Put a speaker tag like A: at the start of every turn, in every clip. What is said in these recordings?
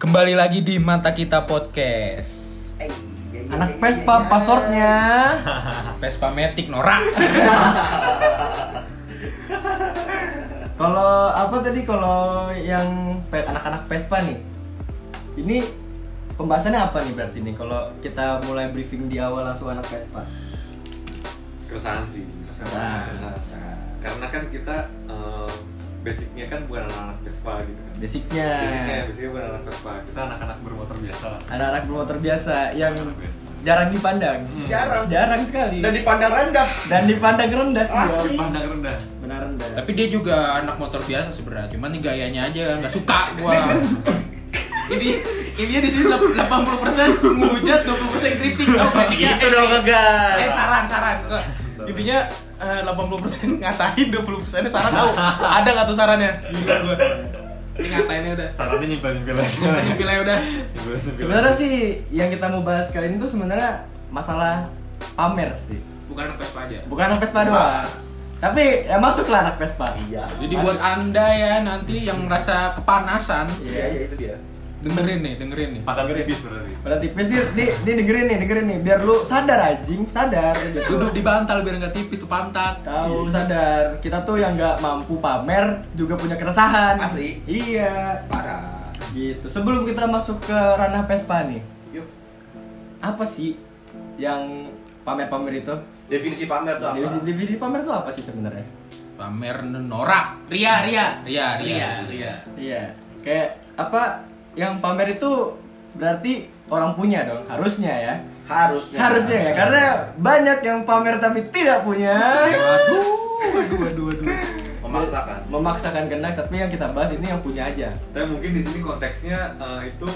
A: Kembali lagi di Mata Kita Podcast.
B: Anak Vespa passwordnya.
A: Vespa Matic norak.
B: Kalau apa tadi kalau yang pe- anak-anak Vespa nih. Ini pembahasannya apa nih berarti nih kalau kita mulai briefing di awal langsung anak Vespa.
C: keresahan sih
B: Keresahan.
C: Keresahan. karena kan kita eh, basicnya kan bukan anak-anak Vespa gitu kan
B: Basicnya.
C: basicnya basicnya bukan anak Vespa kita anak-anak bermotor biasa lah
B: Anak-anak bermotor biasa yang
C: Anak biasa.
B: jarang dipandang.
C: Hmm.
B: Jarang. Jarang sekali.
D: dan dipandang rendah
B: Dan dipandang rendah sih.
C: Asli.
B: Om.
C: pandang rendah
B: Benar rendah.
A: Tapi dia juga anak motor biasa sebenarnya. Cuman nih gayanya aja nggak suka gua. Ini ini di sini 80% ngehujat, 20% kritik. Oh, kritiknya
D: itu dong ngegas
A: Eh saran saran. Intinya eh, 80% ngatain, 20% saran tahu. Ada nggak tuh sarannya? Gila gua. Ini ngatainnya udah.
C: sarannya nyimpel-nyimpel aja
A: Pilih udah.
C: Nyimpel-nyimpel.
B: sebenarnya sih yang kita mau bahas kali ini tuh sebenarnya masalah pamer sih.
A: Bukan anak Vespa aja.
B: Bukan anak Vespa doang. Tapi ya masuklah anak Vespa.
D: iya
A: Jadi buat anda ya nanti yang merasa kepanasan,
D: iya iya itu dia
A: dengerin nih, dengerin nih.
C: patah tipis berarti
B: Pada tipis nih, nih, nih dengerin nih, dengerin nih, biar lu sadar anjing, sadar gitu.
A: Duduk di bantal biar nggak tipis tuh pantat.
B: Tahu sadar, kita tuh yang nggak mampu pamer juga punya keresahan.
D: Asli.
B: Iya.
D: parah
B: Gitu. Sebelum kita masuk ke ranah Vespa nih,
D: yuk
B: apa sih yang pamer-pamer itu?
D: definisi pamer tuh apa
B: Definisi, definisi pamer itu apa sih sebenarnya?
A: Pamer norak.
E: Ria, Ria.
A: Ria, ria.
B: Iya. Kayak apa? Yang pamer itu berarti orang punya dong, harusnya ya.
D: harusnya
B: Harusnya ya, karena banyak yang pamer tapi tidak punya. Iya.
A: Waduh, waduh, waduh.
D: memaksakan
B: memaksakan kehendak tapi yang kita bahas ini yang punya aja
C: tapi mungkin di sini konteksnya eh, itu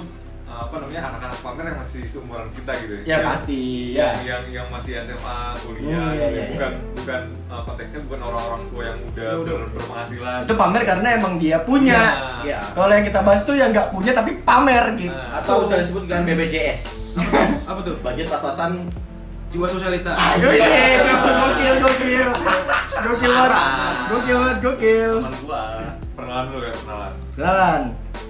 C: eh, apa namanya anak-anak pamer yang masih seumuran kita gitu
B: ya
C: Yang-
B: pasti
C: yang,
B: ya
C: yang yang masih SMA kuliah
B: Hmm, iya, iya,
C: gitu.
B: iya.
C: bukan bukan eh, konteksnya bukan orang-orang tua yang udah,
A: Ya, udah.
C: ber- berpenghasilan
B: itu pamer karena emang dia punya
C: Iya.
D: ya
B: kalau yang kita bahas tuh yang nggak punya tapi pamer gitu
C: Nah.
D: atau sudah disebut dengan BBJS
A: Apa tuh?
D: budget pas-pasan
A: Jiwa sosialita.
B: ayo ye gokil gokil gokil banget gokil banget gokil
C: teman gua perkenalan dulu ya perkenalan
B: dan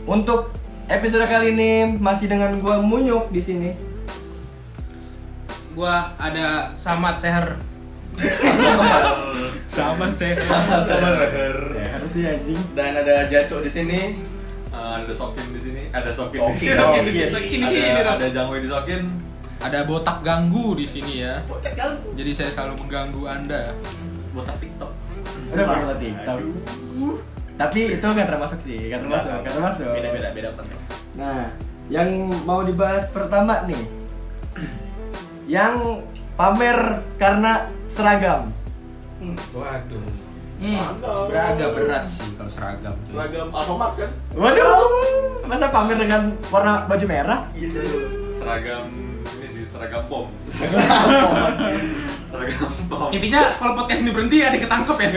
B: untuk episode kali ini masih dengan gua munyuk di sini
E: Gua ada Samad Seher.
A: Sama cewek.
C: sama leher
B: harusnya anjing
D: dan ada jaco di sini
C: Eh, ada sokin di sini ada sokin Iya, di
D: Sokin,
C: sini
D: Sokin
E: di sini, sini,
C: Ada-
E: sini, sini, Rob.
C: ada jangwe di sokin
A: Ada botak ganggu di sini ya.
D: bocah kan
A: Jadi saya selalu mengganggu anda.
C: botak tiktok
B: udah pakai tiktok tapi itu nggak termasuk sih nggak termasuk nggak termasuk
D: beda-beda beda konteks
B: Nah, yang mau dibahas pertama nih, yang pamer karena seragam.
A: Waduh. Hmm. Agak berat sih kalau seragam.
C: seragam alfamart kan
B: Waduh, masa pamer dengan warna baju merah?
C: gitu seragam ini di seragam pom seragam pom
E: Intinya kalau podcast ini berhenti ada ketangkep ya.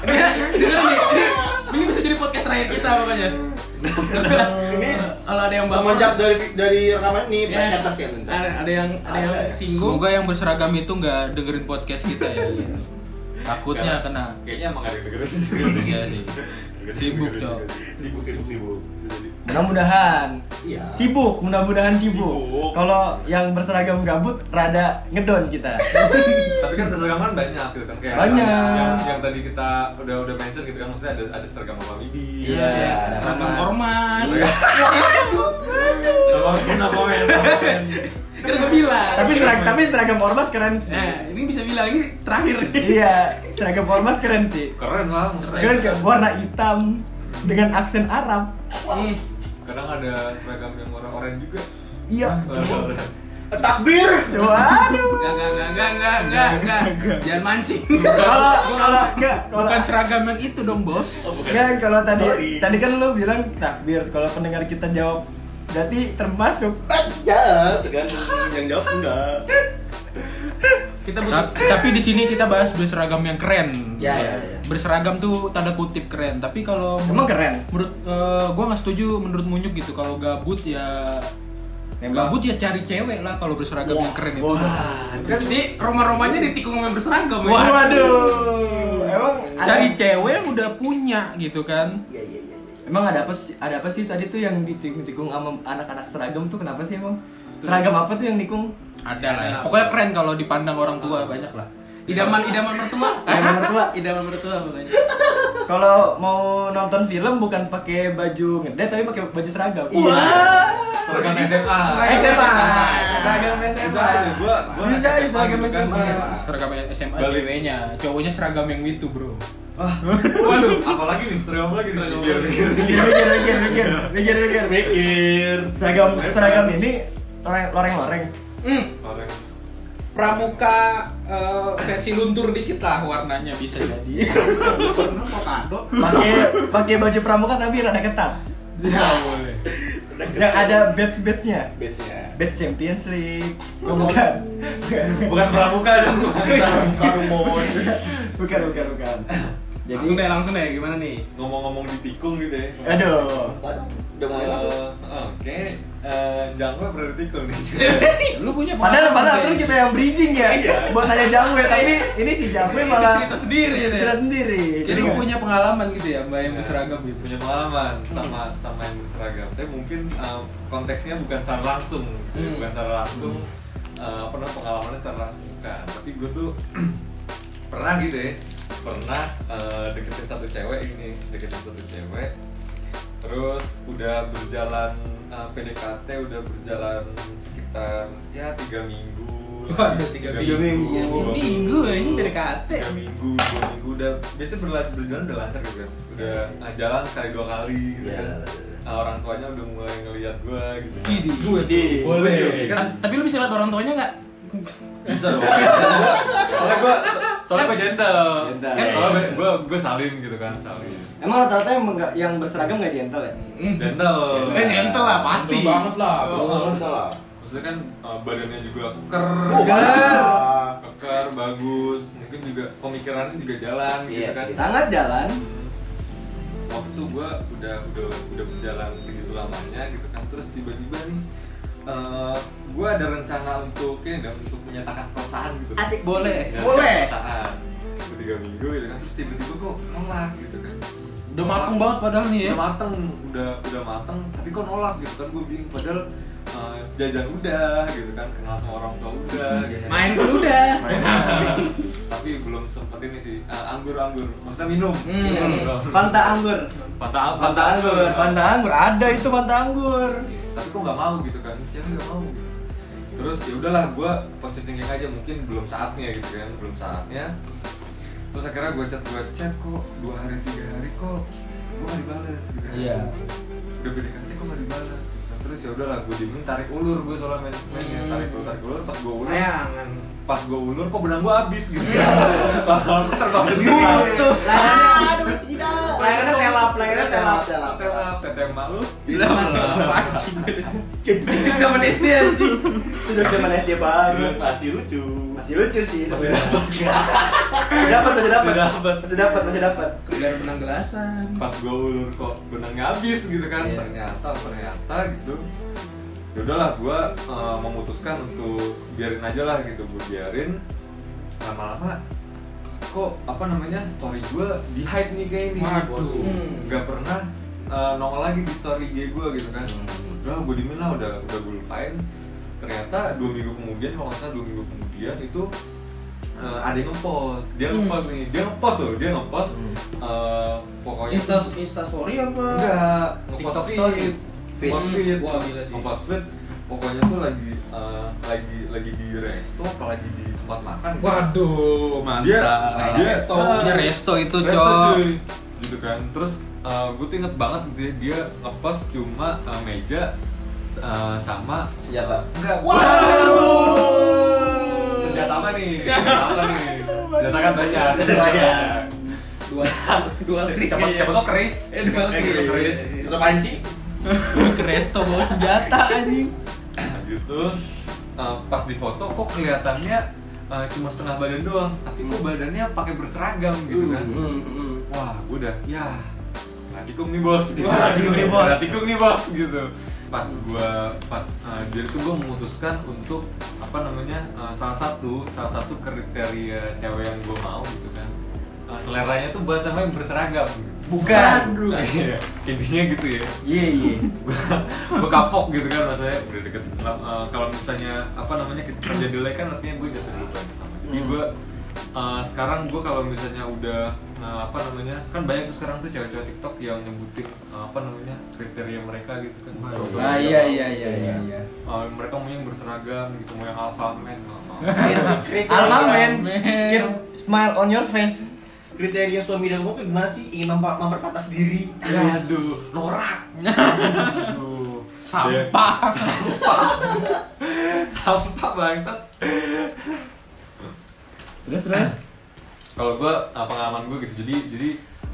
E: Dia dengerin nih, ini, ini bisa jadi podcast terakhir kita pokoknya.
D: ini
B: Nah.
E: Kalau ada yang bangun
D: semenjak dari dari rekaman ini
E: Ya.
D: banyak atas kan
E: ada, ada yang ada yang
D: Ada ya?
E: singgung.
A: Semoga yang berseragam itu nggak dengerin podcast kita ya.
C: Iya.
A: Takutnya kena.
C: kayaknya emang ada yang dengerin
A: Iya sih. Sibuk, Cok.
C: sibuk sibuk sibuk Bisa jadi.
B: Mudah-mudahan
D: iya
B: sibuk, mudah-mudahan sibuk.
C: Sibuk.
B: Kalau yang berseragam gabut, rada ngedon kita.
C: tapi kan keseragaman banyak gitu kan kayak
B: Banyak.
C: yang, yang tadi kita udah udah mention gitu kan maksudnya ada ada seragam apa bibi
B: Iya,
C: ada Iya.
E: Seragam ormas.
C: no comment no comment no comment.
E: Kan gua bilang.
B: tapi seragam, tapi seragam ormas keren sih.
E: Nah,
A: Eh.
E: ini bisa bilang ini terakhir nih.
B: iya, seragam ormas keren sih.
C: keren kan? lah maksudnya
B: Keren kayak warna hitam dengan aksen Arab.
E: Hmm.
C: kadang ada seragam yang warna oranye juga Ah,
B: Iya.
C: Warna-warna.
D: takbir
B: Waduh.
E: Enggak, enggak, enggak, enggak, enggak, enggak, enggak. Jangan mancing.
B: Kalau kalau enggak, kalau
A: Bukan seragam yang itu dong bos.
B: Kan kalau tadi
D: Oh, Sorry.
B: tadi kan lu bilang takbir kalau pendengar kita jawab berarti termasuk
D: Ya, tergantung yang jawab enggak.
E: Kita
A: Ta- tapi di sini kita bahas berseragam yang keren.
D: Ya, ya, ya.
A: Berseragam tuh tanda kutip keren. Tapi kalau
B: emang keren.
A: menurut eh, gua nggak setuju menurut Munyuk gitu kalau gabut ya
B: Nembak.
A: gabut ya cari cewek lah kalau berseragam yang keren itu.
E: Kan di rumah-rumahnya ditikung sama yang berseragam ya.
B: Waduh. Emang ada-
A: Cari cewek yang udah punya gitu kan.
D: Iya, iya, iya.
B: Emang ada apa sih? Ada apa sih tadi tuh yang ditikung-tikung sama anak-anak seragam tuh kenapa sih emang? Seragam apa tuh yang nikung?
A: Ada lah. ya. Ah. Pokoknya keren kalau dipandang orang tua banyak lah.
E: Idaman idaman mertua.
B: Idaman mertua.
E: Idaman mertua pokoknya.
B: Kalau mau nonton film bukan pakai baju ngedet tapi pakai baju seragam. Iya.
C: Seragam SMA.
B: Seragam SMA. Seragam
C: Bisa
B: SMA.
C: aja gua gua
B: Bisa aja
C: SMA
B: seragam
C: gitu kan,
B: SMA.
C: pakai
A: Seragam SMA
C: Balik.
A: ceweknya, cowoknya seragam yang itu, Bro.
C: Ah, Waduh, apalagi nih seragam apa lagi
E: Seragam
C: Mikir,
E: apa?
C: mikir, mikir.
B: Mikir mikir mikir mikir mikir mikir.
D: Mikir.
B: Seragam seragam ya? ini loreng loreng.
A: Hmm,
C: Orang.
A: pramuka eh, versi luntur dikit lah warnanya bisa jadi. Avocado.
B: Pakai pakai baju pramuka tapi rada ketat.
A: Ya boleh.
B: Yang ada badge badge-nya.
D: Biasanya.
B: Badge Champions League. Oh, bukan. Bukan.
C: Bukan pramuka dong.
D: Karmon.
B: Bukan bukan bukan.
E: Langsung deh, langsung deh. Gimana nih?
C: Ngomong-ngomong ditikung gitu ya.
B: Aduh.
D: Udah mulai masuk.
C: Eh, Oke, eh, jangan lupa pernah ditikung nih.
A: Lu punya
B: Padahal
A: pengalaman
B: padahal
A: kayak
B: tuh
A: gitu?
B: kita yang bridging ya. Buat nanya Jamwe tapi ini si Jamwe malah
E: Cerita sendiri ya.
B: kita sendiri.
A: Jadi lu
B: nggak?
A: punya pengalaman gitu ya, Mbak yang
C: Iya.
A: berseragam gitu.
C: punya pengalaman sama sama yang berseragam tapi mungkin eh, konteksnya bukan secara langsung gitu ya.
A: Hmm.
C: bukan secara langsung eh, apa namanya pengalamannya secara langsung bukan tapi gue tuh pernah gitu ya pernah eh, deketin satu cewek ini deketin satu cewek terus udah berjalan eh, PDKT udah berjalan sekitar ya tiga minggu lah.
A: Waduh, tiga
B: minggu.
C: dua
E: Minggu, ini PDKT.
C: Tiga minggu dua minggu udah biasanya berlan- berjalan udah lancar gitu kan udah nah, jalan sekali dua kali gitu kan
D: Iya.
C: Nah, orang tuanya udah mulai ngelihat gua gitu
E: Gini.
A: Gue deh.
C: boleh kan
E: Ta- Tapi lu bisa lihat orang tuanya nggak?
C: bisa dong soalnya gua soalnya gua gentle
B: Gentle.
C: Kan soalnya gua- gua gua salin gitu kan salin
B: Emang rata-rata yang, nggak- yang berseragam nggak gentle ya?
C: gentle
E: Eh, gentle lah pasti.
A: Gentle banget lah, bro.
D: Oh, udah lah.
C: maksudnya kan uh, badannya juga keker
D: Oh, parah.
C: keker bagus mungkin juga pemikirannya juga jalan gitu
D: Iya,
C: kan
B: Sangat jalan.
C: Hmm. waktu gua udah udah udah berjalan segitu lamanya gitu kan terus tiba-tiba nih eh gua ada rencana untuk ini nggak untuk menyatakan perasaan gitu
B: Asik.
A: Boleh.
C: Menyatakan
B: Boleh.
C: perasaan Itu tiga minggu gitu kan terus tiba-tiba kok nolak gitu kan
A: Udah mateng banget padahal nih ya.
C: udah mateng udah udah mateng tapi kok nolak gitu kan gue bingung padahal eh, jajan udah gitu kan kenal sama orang tua udah gitu.
E: Main pun udah.
C: tapi belum sempet ini sih Eh, anggur anggur maksudnya minum
E: Hmm.
C: Minum, minum.
B: Fanta anggur.
C: Fanta,
B: Fanta anggur, Fanta anggur ada itu Fanta anggur.
C: tapi kok nggak mau gitu kan siapa nggak mau gitu. terus ya udahlah gue positif thinking aja mungkin belum saatnya gitu kan belum saatnya terus akhirnya gue chat gue chat kok dua hari tiga hari kok gue nggak dibalas gitu kan
B: Iya.
C: udah PDKT kok nggak dibalas gitu kan. terus ya udahlah gue diemin tarik ulur gue soalnya main mainnya
E: Hmm.
C: tarik ulur tarik ulur pas gue ulur
E: Bayangan.
C: pas gue ulur kok benang gue habis gitu kan Padahal aku terbang sendiri
B: Putus.
D: Aduh, tidak.
B: Layarnya telap, layarnya telap.
D: telap, telap.
C: telap teteh mak lu
E: Gila lah. Anjing. Cicik sama SD anjing.
B: Sudah zaman SD banget.
D: Masih lucu.
B: Masih lucu sih. Masih dapat. Masih dapat, masih dapat.
C: Masih dapat.
B: Masih dapat, masih dapat.
E: Biar benang gelasan.
C: pas gue ulur kok benangnya habis gitu kan
B: Iya.
C: ternyata ternyata gitu ya udahlah gue memutuskan untuk biarin aja lah gitu gue biarin lama-lama kok apa namanya story gue di hide nih kayak ini
A: Waduh.
C: nggak pernah eh, nongol lagi di story IG gue gitu kan udah gue dimin lah udah udah gue lupain ternyata dua minggu kemudian kalau nggak salah dua minggu kemudian itu eh, ada yang ngepost dia
E: Hmm.
C: ngepost nih dia ngepost loh dia ngepost
B: Hmm.
C: eh, pokoknya
E: Insta Insta story apa?
C: Enggak,
E: TikTok
C: ngepost
E: story.
C: feed.
E: Feed.
C: Ngepost feed.
E: Wah, gila sih.
C: Ngepost feed. Pokoknya tuh lagi eh, lagi lagi di resto apa lagi di tempat makan.
A: Waduh, mantap.
C: Dia dia eh,
A: resto, punya Ah. resto itu,
C: resto,
A: Cok.
C: cuy. Gitu kan. Terus eh, gue tuh inget banget gitu ya, dia ngepost cuma eh, meja eh, sama
D: Senjata.
C: Enggak.
D: Waduh.
C: Senjata apa nih? Senjata apa nih? Senjata kan banyak.
D: Senjata banyak.
E: Dua dua Chris
A: ya.
C: Siapa siapa
E: kayaknya.
C: tuh Chris?
E: Eh, dua Chris.
C: Chris.
D: Udah panci.
A: Ke resto bawa senjata anjing.
C: gitu Eh, pas di foto kok kelihatannya eh, cuma setengah badan doang tapi kok badannya pakai berseragam gitu kan
D: Iya. Hmm,
C: wah gue udah ya nah tikung nih bos gitu.
B: Wah, tikung nih, bos.
C: Nah, tikung nih bos gitu pas gue pas eh, dia tuh gue memutuskan untuk apa namanya eh, salah satu salah satu kriteria cewek yang gue mau gitu kan Eh, seleranya tuh buat sama yang berseragam gitu.
B: Bukan.
C: Iya, intinya gitu ya
B: Iya iya.
C: gue kapok gitu kan rasanya udah deket Lam- eh, kalau misalnya apa namanya ke- terjadi delay kan artinya gue jatuh duluan sama jadi
B: Hmm.
C: gue eh, sekarang gue kalau misalnya udah eh, apa namanya kan banyak tuh sekarang tuh cewek-cewek TikTok yang nyebutin eh, apa namanya kriteria mereka gitu kan
E: Wah,
C: Cowok-cowok
B: Ah
C: yang-
B: iya iya iya iya. iya.
C: eh, mereka mau yang berseragam gitu mau yang alpha man mau- mau.
E: Iya,
B: Alma men,
A: Men.
B: Kid, smile on your face.
D: hmm. Kriteria suami dan gue tuh gimana sih? Ingin memper- memperpantas diri.
C: aduh norak
B: Iya.
C: aduh
A: Sampah.
C: sampah bangsat
B: Terus terus.
C: kalau gue pengalaman gue gitu jadi jadi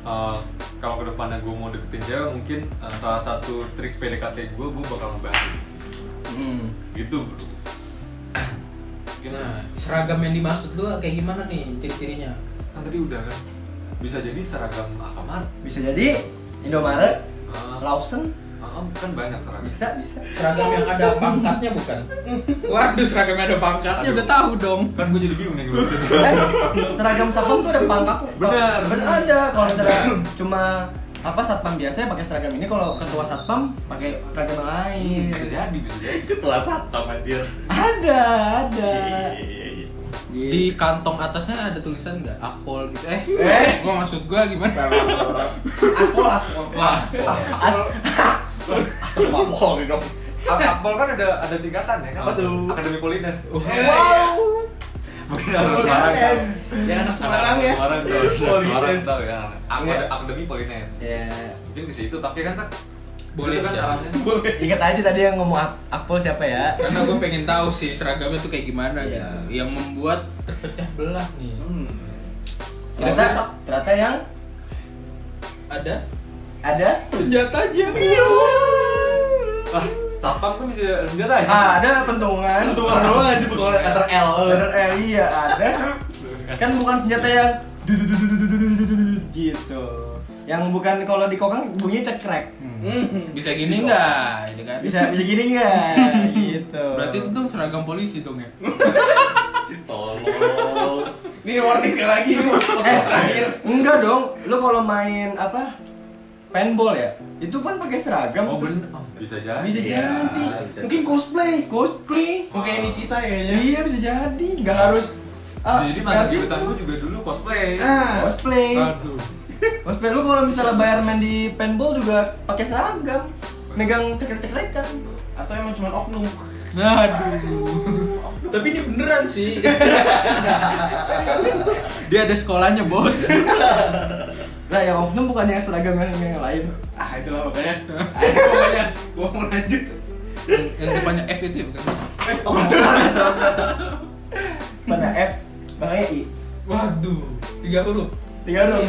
C: eh, kalau kedepannya gue mau deketin cewek mungkin eh, salah satu trik PDKT gue gue bakal ngebahas itu sih.
B: Hmm.
C: gitu bro
A: Nah,
C: gimana
A: seragam yang dimaksud lu kayak gimana nih ciri-cirinya?
C: kan tadi udah kan bisa jadi seragam akamar
B: Bisa jadi Indomaret,
C: uh,
E: Ah.
B: Lawson,
C: kan banyak seragam
B: bisa bisa.
A: Seragam yang ada pangkatnya bukan? Waduh, seragam yang ada pangkatnya udah tahu dong.
C: kan gue jadi bingung nih ngurusin
B: Eh, seragam satpam tuh ada pangkat.
C: Bener.
B: Bener ada. Kalau misalnya cuma apa satpam biasanya pakai seragam ini kalau ketua satpam pakai seragam yang lain.
C: bisa jadi bisa jadi
D: Ketua satpam anjir.
B: Ada, ada.
D: Iya,
A: Di kantong atasnya ada tulisan nggak? Akpol gitu. Eh,
B: Eh.
A: gua maksud gua gimana?
E: Aspol, aspol.
A: Aspol.
B: as
D: Bohong dong.
C: Akpol kan ada ada singkatan ya kan
D: Apa tuh?
C: Akademi Polines
B: Iya.
A: Wow.
C: mungkin harus Semarang
E: Jangan anak Semarang ya.
C: Semarang tau Semarang
D: Polines.
C: tau ya Akad- Akademi Polines
B: Ya,
C: mungkin ke situ tapi kan tak
A: Boleh,
C: Itu kan
A: ya.
C: arahnya
B: ingat aja tadi yang ngomong Ak- Akpol siapa ya?
A: Karena gua pengen tahu sih seragamnya tuh kayak gimana
D: Iya.
A: gitu. Yang membuat terpecah belah nih.
D: Hmm.
B: Ternyata ternyata yang
A: Ada
B: ada
A: senjatanya.
C: ah satpam kan bisa senjata ya
B: Ah, ada pentungan.
D: Tuan doang aja pegawai kantor L.
B: Bener, eh, iya ada. Kan bukan senjata yang dudududududududududududud gitu. Yang bukan kalau di kokang bunyinya cekrek.
A: Hmm, Bisa gini nggak? Gitu kan?
B: Bisa bisa gini nggak? Gitu.
A: Berarti itu dong seragam polisi dong ya?
D: Tolong.
E: Ini warning sekali lagi ini podcast terakhir.
B: enggak dong. Lu kalau main apa? Paintball ya? Itu kan pakai seragam.
C: oh
B: terus
C: bener Oh, bisa jadi
B: Bisa jadi.
E: Mungkin cosplay.
B: Cosplay.
E: Oke, ini cisa ya.
B: Iya bisa jadi. Nggak harus.
C: bisa
B: ah,
C: jadi
B: nggak
C: mantan
B: harus-
C: gebetan gue juga dulu cosplay
B: Ah, cosplay.
C: aduh
B: Cosplay lu kalau misalnya bayar main di paintball juga pakai seragam. Megang cekrek-cekrek kan.
E: Atau emang cuma oknum.
A: Tapi ini beneran sih. Dia ada sekolahnya, Bos.
B: Lah yang oknum bukan yang seragam yang, yang lain.
E: Ah, itulah pokoknya. Ah, itu pokoknya gua mau lanjut.
A: yang, yang depannya F itu ya bukan?
B: Mana F, belakangnya I.
A: Waduh, tiga huruf.
B: Tiga huruf.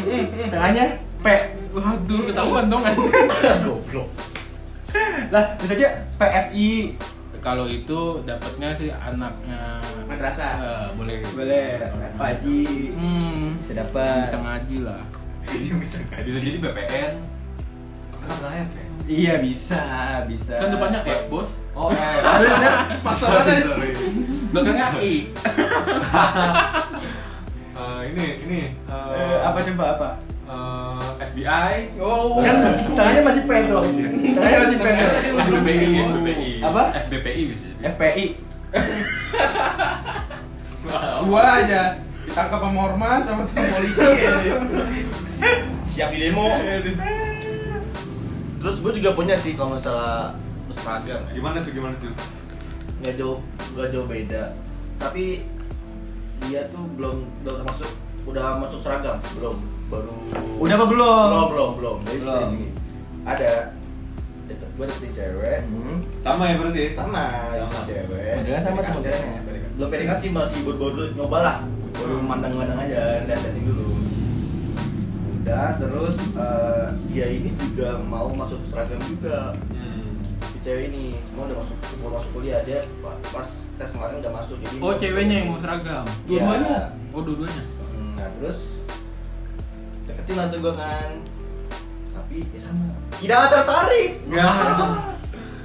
B: Tengahnya P.
A: Waduh, ketahuan dong kan.
D: Goblok.
B: Lah, bisa aja PFI.
A: Kalau itu dapatnya sih anaknya
E: Madrasah.
A: Eh, boleh.
B: Boleh. Pak Haji.
A: Hmm,
B: Bisa
A: bisa
B: dapat.
A: ngaji lah.
C: Eh, bisa jadi BPN kan bukan F ya
B: Iya bisa, bisa.
A: Kan depannya F, Bos. Eh,
C: oh F
B: Ada ada.
E: Masuk banget.
C: Sorry.
E: Belakangnya I.
C: Eh, ini ini eh,
B: Eh, apa coba apa?
C: eh, FBI
E: Oh.
B: Kan tangannya masih P tuh. Tangannya masih P.
C: Eh, FBPI
E: Oh.
C: FBPI
B: Apa?
C: FBPI bisa jadi
B: FPI.
E: Gua aja ditangkap sama ormas sama tim polisi.
D: Siap di demo. Terus gue juga punya sih kalau masalah seragam ya.
C: gimana tuh gimana tuh
D: nggak jauh nggak jauh beda tapi dia tuh belum belum termasuk udah masuk seragam belum baru
B: Udah apa belum?
D: belum belum belum jadi
B: Belum.
D: seperti ini. ada gue deketin cewek
B: Hmm.
C: sama ya berarti ya?
D: sama
C: Sama.
D: cewek
B: Modelnya sama tuh
D: PDKT.
B: modelnya.
D: belum PDKT sih masih baru-baru nyoba lah baru mandang-mandang aja dan dating dulu udah terus eh, dia ini juga mau masuk seragam juga
C: Hmm.
D: si cewek ini mau udah masuk mau masuk kuliah dia pa- pas tes kemarin udah masuk jadi
A: Oh, ceweknya yang mau seragam.
D: Iya.
E: Dua-duanya?
A: Oh, dua-duanya.
D: Hmm, nah terus deketin lah tuh gue kan tapi ya sama tidak tertarik
B: Ya.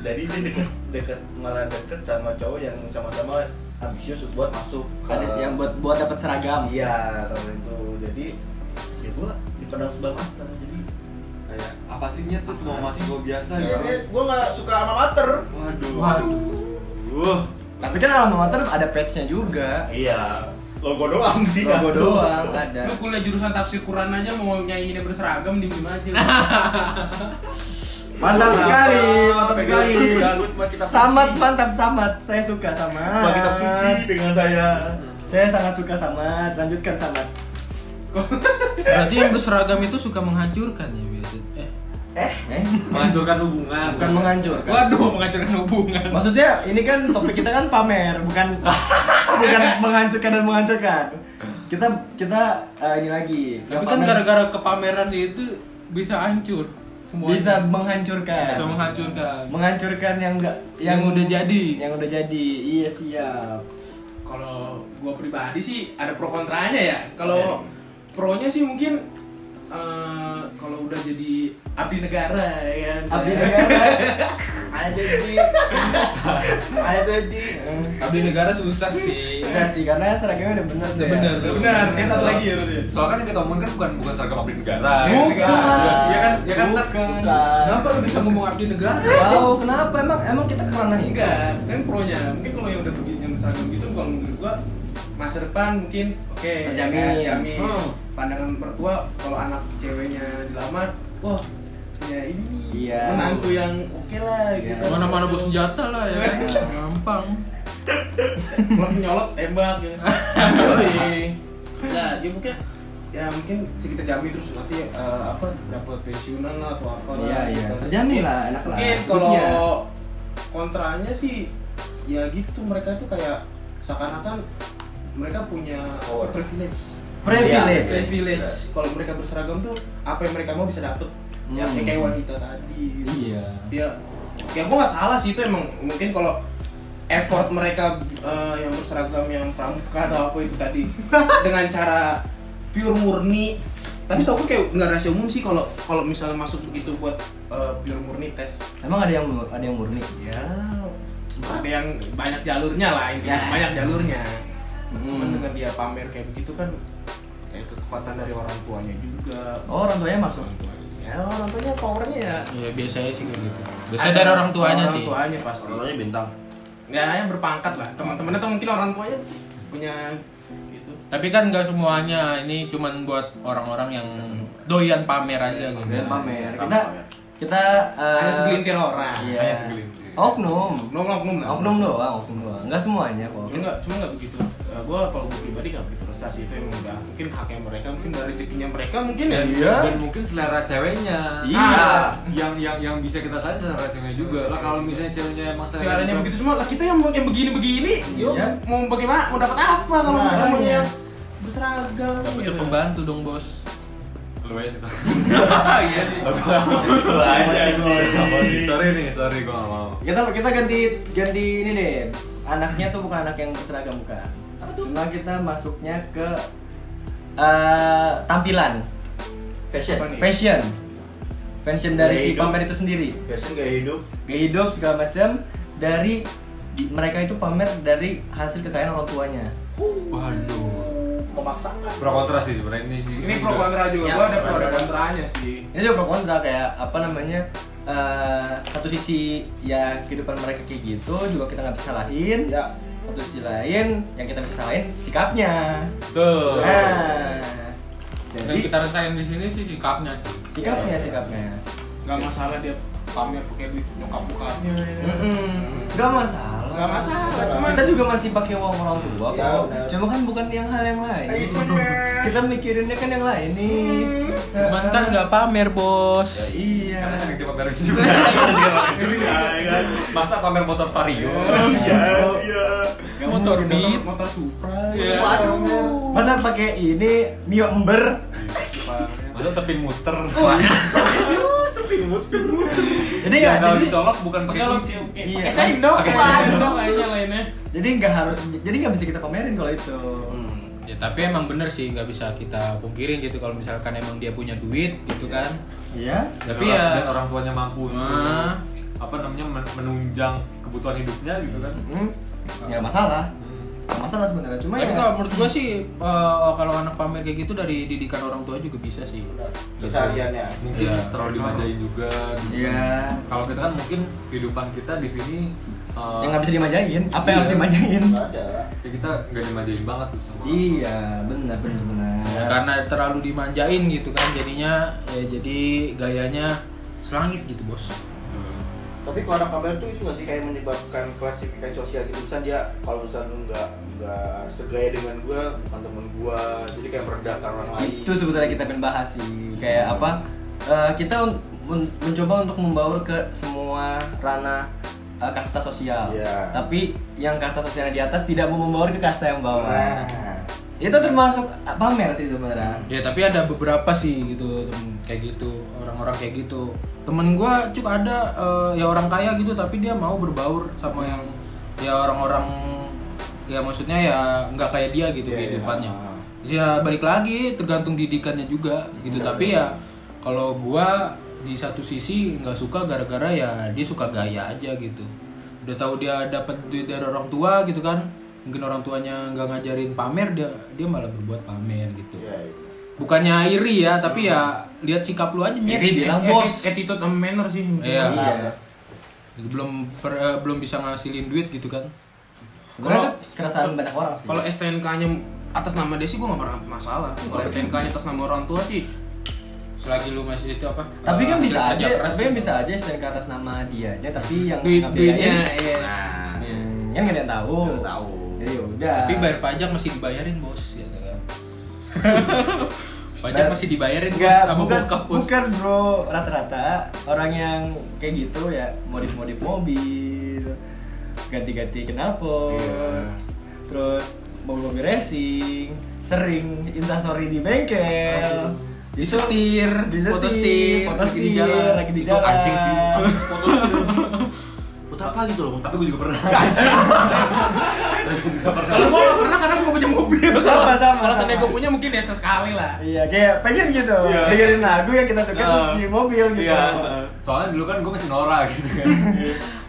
D: jadi dia deket deket malah deket sama cowok yang sama-sama ambisius buat masuk ke-
B: Ada yang buat buat dapat seragam.
D: iya sama itu jadi ya gue dipandang sebelah mata jadi
C: apa sih Nyet? tuh cuma mahasiswa biasa ya
D: Nah, Jadi gue nggak suka alma mater.
C: waduh
F: Waduh.
C: Wah.
D: Uh,
B: Tapi kan alma mater ada patch-nya juga.
D: Iya. Logo doang sih.
B: Logo
D: kan.
B: doang ada.
A: Lu kuliah jurusan tafsir Quran aja mau nyanyiinnya berseragam di mana aja. lu.
B: Mantap
D: Kenapa?
B: sekali, mantap
D: Pegang
B: sekali.
D: rambut, mari kita
B: Samat
D: fungsi.
B: mantap samat. Saya suka samat.
D: Bagi kitab suci dengan saya.
B: Saya sangat suka samat. Lanjutkan samat.
F: Berarti yang berseragam itu suka menghancurkan ya biasanya. Eh,
B: Eh, eh.
C: menghancurkan hubungan
B: Bukan menghancurkan.
A: Waduh, menghancurkan hubungan.
B: Maksudnya ini kan topik kita kan pamer, bukan bukan menghancurkan dan menghancurkan. Kita kita eh, ini lagi.
F: tapi
B: Kita
F: kan
B: pamer.
F: gara-gara kepameran itu bisa hancur semua.
B: bisa menghancurkan.
F: bisa menghancurkan.
B: menghancurkan yang enggak
F: Yang udah jadi.
B: Yang udah jadi. Iya siap.
A: Kalau gua pribadi sih ada pro kontranya ya. Kalau pronya sih mungkin eh, kalau udah jadi abdi negara ya kan.
B: Abdi negara.
D: Ada di. Ada di.
F: Abdi negara susah sih.
B: Bisa sih karena seragamnya udah bener.
F: Udah
B: tuh ya.
F: bener.
A: Benar, benar. Kayak satu lagi Iya ya berarti.
C: soalnya kan yang kita omongin kan bukan bukan seragam abdi negara
A: Bukan. Iya.
C: ya kan ya kan ntar
B: Bukan.
F: Kenapa lu bisa ngomong abdi negara?
B: Wow, kenapa emang emang kita kerana hingga?
A: Enggak, kan pronya. Mungkin kalau yang udah begitu yang seragam gitu kalau menurut gua masa depan mungkin oke
B: Terjamin.
A: ya kan, terjamin.
F: Hmm.
A: pandangan mertua kalau anak ceweknya dilamar wah punya ini nih,
B: Iya.
A: menantu yang oke lah
B: Iya.
A: gitu
F: Mana-mana bos senjata lah ya. kan? Gampang.
A: Kalau nyolot tembak ya
B: Yoi.
A: Nah, ya mungkin ya mungkin si kita jamin terus nanti eh, apa dapat pensiunan lah atau apa lah.
B: Iya, iya.
A: Gitu.
B: Terjamin lah, enak lah.
A: Mungkin kalau
B: Iya.
A: kontranya sih ya gitu mereka tuh kayak seakan-akan mereka punya
C: Power.
A: privilege.
B: Privilege.
A: Privilege. Kalau mereka berseragam tuh apa yang mereka mau bisa dapet. Ya
B: Hmm.
A: kayak wanita tadi.
B: Iya.
A: Ya, ya gua nggak salah sih itu emang mungkin kalau effort mereka eh, yang berseragam yang pramuka atau apa itu tadi dengan cara pure murni tapi tau gue kayak nggak rahasia umum sih kalau kalau misalnya masuk begitu buat eh, pure murni tes
B: Emang ada yang mur- ada yang murni?
A: ya ada yang banyak jalurnya lah intinya
B: Ya.
A: banyak jalurnya cuman
B: Hmm.
A: dengan dia pamer kayak begitu kan kayak kekuatan dari orang tuanya juga
B: Oh, orang tuanya masuk.
A: ya orang tuanya powernya ya
F: Ya biasanya sih kayak gitu. Biasanya dari orang tuanya
A: orang
F: sih.
A: tuanya pasti
F: bintang.
A: nggak yang berpangkat lah teman-temannya atau mungkin orang tuanya punya gitu
F: Tapi kan nggak semuanya, ini cuman buat orang-orang yang doyan pamer aja gitu.
B: Biar pamer.
D: Kita
B: Kita kita eh,
A: Iya, hanya segelintir orang
B: Iya.
C: Hanya segelintir.
B: Oknum.
A: oknum oknum lah
B: Oknum doang, oknum doang. Enggak semuanya kok.
A: cuma nggak cuma nggak begitu gue kalau gue pribadi nggak begitu resah sih itu emang udah mungkin haknya mereka mungkin dari rezekinya mereka mungkin ya
B: Iya.
C: dan mungkin selera ceweknya
B: Iya.
C: Ah, yang yang yang bisa kita saja selera ceweknya juga lah kalau misalnya ceweknya emang
A: seleranya begitu semua lah kita yang mau- yang begini begini yuk
B: Iya.
A: mau bagaimana mau dapat apa kalau
B: Nah,
A: kita maunya
B: iya.
A: yang berseragam
F: Tapi
A: gitu.
F: udah pembantu dong bos.
C: lu aja kita
F: Iya sih.
D: Lu aja,
C: Apa sih? sorry nih sorry gua nggak mau
B: Kita kita ganti ganti ini deh. Anaknya tuh bukan anak yang berseragam bukan. Cuma kita masuknya ke eh, tampilan,
D: Fashion.
A: Apa nih?
B: fashion. Fashion dari si
D: Gaya hidup.
B: pamer itu sendiri.
D: Fashion gaya hidup.
B: Gaya hidup segala macam dari di- mereka itu pamer dari hasil kekayaan orang tuanya.
F: Waduh.
A: memaksakan
C: pro kontra sih sebenarnya ini
A: ini pro
C: juga.
A: kontra juga
B: Ya,
A: gue ada pro ada
B: pro kontra.
A: kontranya sih
B: Ini juga pro kontra kayak apa namanya eh, satu sisi ya kehidupan mereka kayak gitu juga kita nggak bisa salahin.
D: Ya.
B: Satu sisi lain yang kita bisa salahin sikapnya.
C: tuh
A: Eh.
B: Nah,
F: Dan
B: jadi
F: kita rasain di sini sih sikapnya sih.
B: sikapnya sikapnya.
A: nggak masalah dia pamer pakai duit nyokap
F: Iya,
A: bokapnya ya.
B: Mm-mm. Nggak masalah.
A: nggak masalah cuman
B: Cuman kita juga masih pakai uang orang tua
D: Ya,
B: kok.
D: benar.
B: Cuma kan bukan yang hal yang lain.
D: Iya, benar. Mm-hmm.
B: kita mikirinnya kan yang lain nih.
F: Cuman kan nggak pamer
B: Ya,
F: bos.
B: Iya.
C: karena kan ada kita pamerin juga masa pamer motor vario
A: Oh.
D: Iya. Iya.
B: Nggak
F: Motor
B: mungkin
F: beat.
B: dong.
A: motor Supra
C: Iya.
D: Waduh.
B: Masa pakai ini Mio Ember?
C: masa sepin muter
A: Oh,
B: Jadi
C: yang
B: ya,
C: kalau
B: jadi,
C: dicolok bukan pakai
A: Kalau
C: kunci
B: Iya.
A: pakai sendok,
C: Pakai
A: pakai
C: sendok.
A: sendok kayaknya
F: Hmm.
A: lainnya.
B: jadi nggak harus, jadi nggak bisa kita pamerin kalau itu.
A: Mm.
F: Ya tapi emang bener sih nggak bisa kita pungkirin gitu kalau misalkan emang dia punya duit gitu kan.
B: Iya.
F: Tapi
C: Kalau
F: ya
C: misalnya orang tuanya mampu untuk
F: Ah.
C: apa namanya men- menunjang kebutuhan hidupnya gitu kan
B: Hmm. Nggak masalah.
C: Hmm.
B: Nggak masalah sebenarnya cuma
A: Tapi
B: ya
A: kalau menurut gua sih eh, kalau anak pamer kayak gitu dari didikan orang tua juga bisa sih.
D: kesehariannya
C: mungkin
A: Iya.
C: terlalu dimanjain juga gitu.
B: Iya.
C: kalau kita kan mungkin kehidupan kita di sini
B: yang
C: uh,
B: ya nggak bisa dimanjain apa yang
C: Iya.
B: harus dimanjain
D: nggak ada
C: ya kita nggak dimanjain banget tuh sama
B: iya benar benar benar
A: Ya, karena terlalu dimanjain gitu kan jadinya ya jadi gayanya selangit gitu bos.
C: Hmm.
D: tapi kalau anak pamer tuh itu nggak sih kayak menyebabkan klasifikasi sosial gitu misalnya dia kalau misalnya lu nggak nggak segaya dengan gua bukan temen gua jadi kayak merendahkan orang lain
B: itu sebetulnya kita pengen bahas sih kayak apa eh, kita un- un- mencoba untuk membaur ke semua ranah eh, kasta sosial
D: Iya.
B: tapi yang kasta sosial di atas tidak mau membaur ke kasta yang bawah
D: nah
B: itu termasuk eh, pamer sih sebenarnya
D: kan?
A: Ya tapi ada beberapa sih gitu temen kayak gitu orang-orang kayak gitu. Temen gua juga ada eh, ya orang kaya gitu tapi dia mau berbaur sama yang ya orang-orang ya maksudnya ya nggak kayak dia gitu
D: Iya, iya.
A: kehidupannya. Ya balik lagi tergantung didikannya juga gitu
D: Iya,
A: tapi ya kalau gua di satu sisi nggak suka gara-gara ya dia suka gaya aja gitu. Udah tahu dia dapat duit dari orang tua gitu kan. Mungkin orang tuanya nggak ngajarin pamer dia dia malah berbuat pamer gitu
F: Iya,
D: ya itu.
A: bukannya iri ya tapi ya lihat sikap lu aja nyet
B: Hmm. Iri bilang bos
E: Iya, attitude and manner sih
A: Iya.
B: Iya.
A: belum per- eh, belum bisa ngasilin duit gitu kan
B: Kalau
E: Kalau-
B: kerasaan banyak orang sih.
E: Kalau STNK-nya atas nama dia sih gue gak pernah masalah. Kalau STNK-nya atas nama orang tua sih,
A: selagi lu masih itu apa
B: tapi kan
A: eh, kerja
B: bisa aja,
A: keras
B: tapi kan
A: gitu.
B: bisa aja STNK atas nama dianya, tapi yang
E: duit duitnya
B: ngebiayain-
E: iya.
D: nah
B: Hmm, kan nggak ada yang tahu.
D: nggak tahu
B: Jadi udah.
A: tapi bayar pajak masih dibayarin bos gitu kan pajak
B: Bayar-
A: masih dibayarin bos
B: Nah, Enggak,
A: sama
B: bukan,
A: bokap bos
B: bukan bro rata-rata orang yang kayak gitu ya modif-modif mobil ganti-ganti knalpot
C: Iya.
B: terus mobil-mobil racing sering instastory di bengkel
A: Disetir,
B: disetir,
A: foto setir,
B: foto
A: lagi di
B: setir,
A: jalan.
B: lagi di
D: itu
B: jalan
D: anjing sih habis foto gitu. buat apa gitu loh tapi gua juga pernah
E: Kalau gue gak pernah karena gue punya mobil.
B: Sama, sama,
E: Kalau seandainya
B: sama.
E: gue punya mungkin ya sesekali lah.
B: Iya, kayak pengen gitu.
D: Iya.
B: Dengerin lagu yang kita suka terus
C: Nah.
B: di mobil gitu.
D: Iya.
C: soalnya dulu kan gue masih norak gitu kan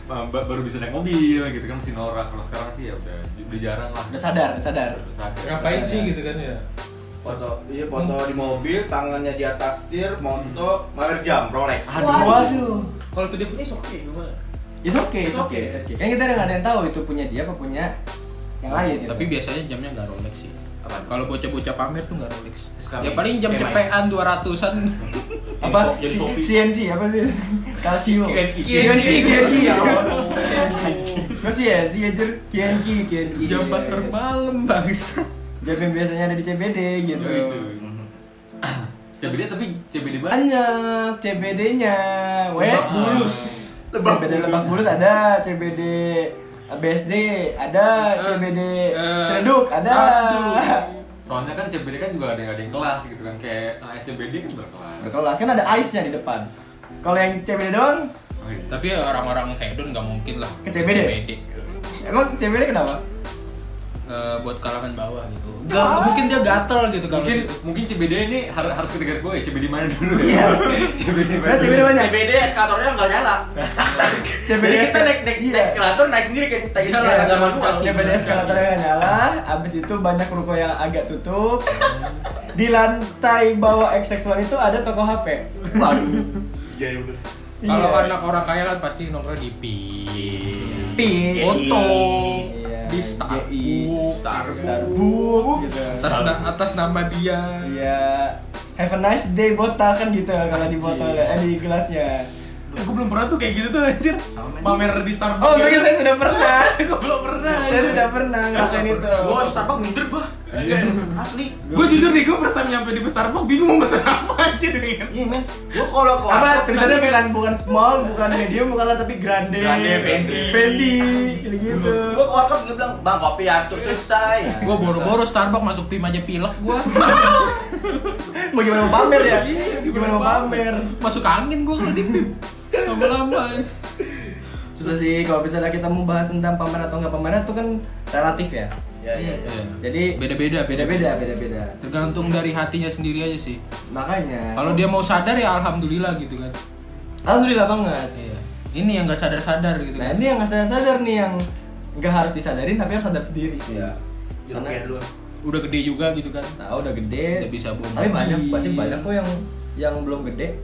C: Ba- ba- baru bisa naik mobil gitu kan masih norak kalau sekarang sih ya udah udah jarang lah
B: Udah sadar, udah sadar.
C: Udah sadar.
B: Ngapain sih gitu
A: kan ya
D: foto iya foto di mobil tangannya di atas setir moto merek jam Rolex
B: Aduh, waduh.
E: Kalau itu dia punya sok oke gue mah.
B: It's okay, it's okay, it's okay. Kan kita udah nggak ada yang tahu itu punya dia apa punya yang lain. gitu.
A: tapi biasanya jamnya nggak Rolex sih
C: Apaan?
A: kalau bocah-bocah pamer tuh nggak Rolex
C: Sekarang
A: ya paling jam
C: skema ya.
A: cepean 200an
B: apa?
D: Jadi
B: Si-
D: kopi.
B: CNC apa sih? Calcio.
E: Kienki.
B: Kienki, Kienki.
E: Kienki.
B: ya Allah. Kok CNC anjir? Kienki, Kienki.
A: jam pasar malam bangsa
B: Jam yang biasanya ada di CBD gitu.
C: Yoi, cuy. CBD tapi CBD banyak
B: Banyak CBD-nya. Weh,
C: Lebak bulus.
B: Lebak CBD lebak bulus ada, CBD BSD ada,
A: Eh,
B: CBD
A: eh,
B: celeduk ada.
C: soalnya kan CBD kan juga ada yang ada yang kelas gitu kan kayak anak SCBD kan berkelas
B: Berkelas kan ada ice-nya di depan. Kalau yang CBD doang,
C: Oh, iya.
A: Tapi ya orang-orang hedon nggak mungkin lah
B: Ke CBD? emang CBD kenapa?
A: Eh, buat kalangan bawah gitu. Nggak, mungkin dia gatel gitu kalau
C: mungkin
A: gitu.
C: mungkin CBD ini har- harus kita garis gue CBD mana dulu ya
B: Iya. Nah,
C: CBD mana
B: CBD
C: dulu?
B: banyak.
D: CBD eskalatornya nggak nyala jadi kita naik naik
B: Iya.
D: naik eskalator naik sendiri kan naik
B: Iya,
D: eskalator nggak manual
B: CBD eskalator yang nyala, abis itu banyak ruko yang agak tutup. Di lantai bawah XX1 itu ada toko HP.
D: waduh iya iya bener.
A: Kalau
B: Iya.
A: anak orang kaya kan pasti nongkrong di pin.
B: Pi.
A: Foto.
B: Iya,
A: Di
B: GI,
A: Starbucks.
B: Starbucks gitu.
A: Atas, na- atas nama dia.
B: Iya. Have a nice day botol kan gitu kalau di botol eh, di gelasnya.
E: Eh gue belum pernah tuh kayak gitu tuh anjir. Pamer di Starbucks.
B: Oh, mungkin saya sudah pernah.
E: Gue belum pernah.
B: saya sudah pernah ngerasain itu.
D: gua harus Starbucks minder gua asli
E: Gue jujur nih, gue pertama nyampe di Starbucks bingung mau pesen apa anjir dengan
D: iya men gua kalau ke
B: Apa tulisannya bukan bukan small, bukan medium, bukan lah, tapi grande.
D: Grande, Fendi.
B: Fendi, gitu. gitu.
D: gua ke warkop dia bilang bang kopi atuh selesai
C: Iya.
A: Gua boro-boro Starbucks masuk pim aja pilek gua.
B: Mau gimana mau pamer ya?
A: Iya,
B: Gimana mau pamer? Iya,
A: Masuk angin gua kalau di pim. Lama-lama.
B: Susah sih kalau misalnya kita mau bahas tentang pamer atau nggak pamer itu kan relatif ya.
D: ya iya iya.
A: Iya.
B: Jadi-
A: beda-beda, beda-beda.
B: Beda-beda, Nah. beda-beda.
A: Tergantung dari hatinya sendiri aja sih.
B: Makanya.
A: Kalau dia mau sadar ya alhamdulillah gitu kan.
B: alhamdulillah banget.
A: Iya. Ini yang nggak sadar-sadar gitu
B: Nah
A: kan.
B: ini yang nggak sadar sadar nih yang nggak harus disadarin tapi harus sadar sendiri sih
D: Iya.
B: Karena-
D: Jeruknya dulu.
A: udah gede juga gitu kan
B: nah udah gede
A: udah bisa boom
B: tapi banyak
D: Iya.
B: banyak banyak kok yang yang belum gede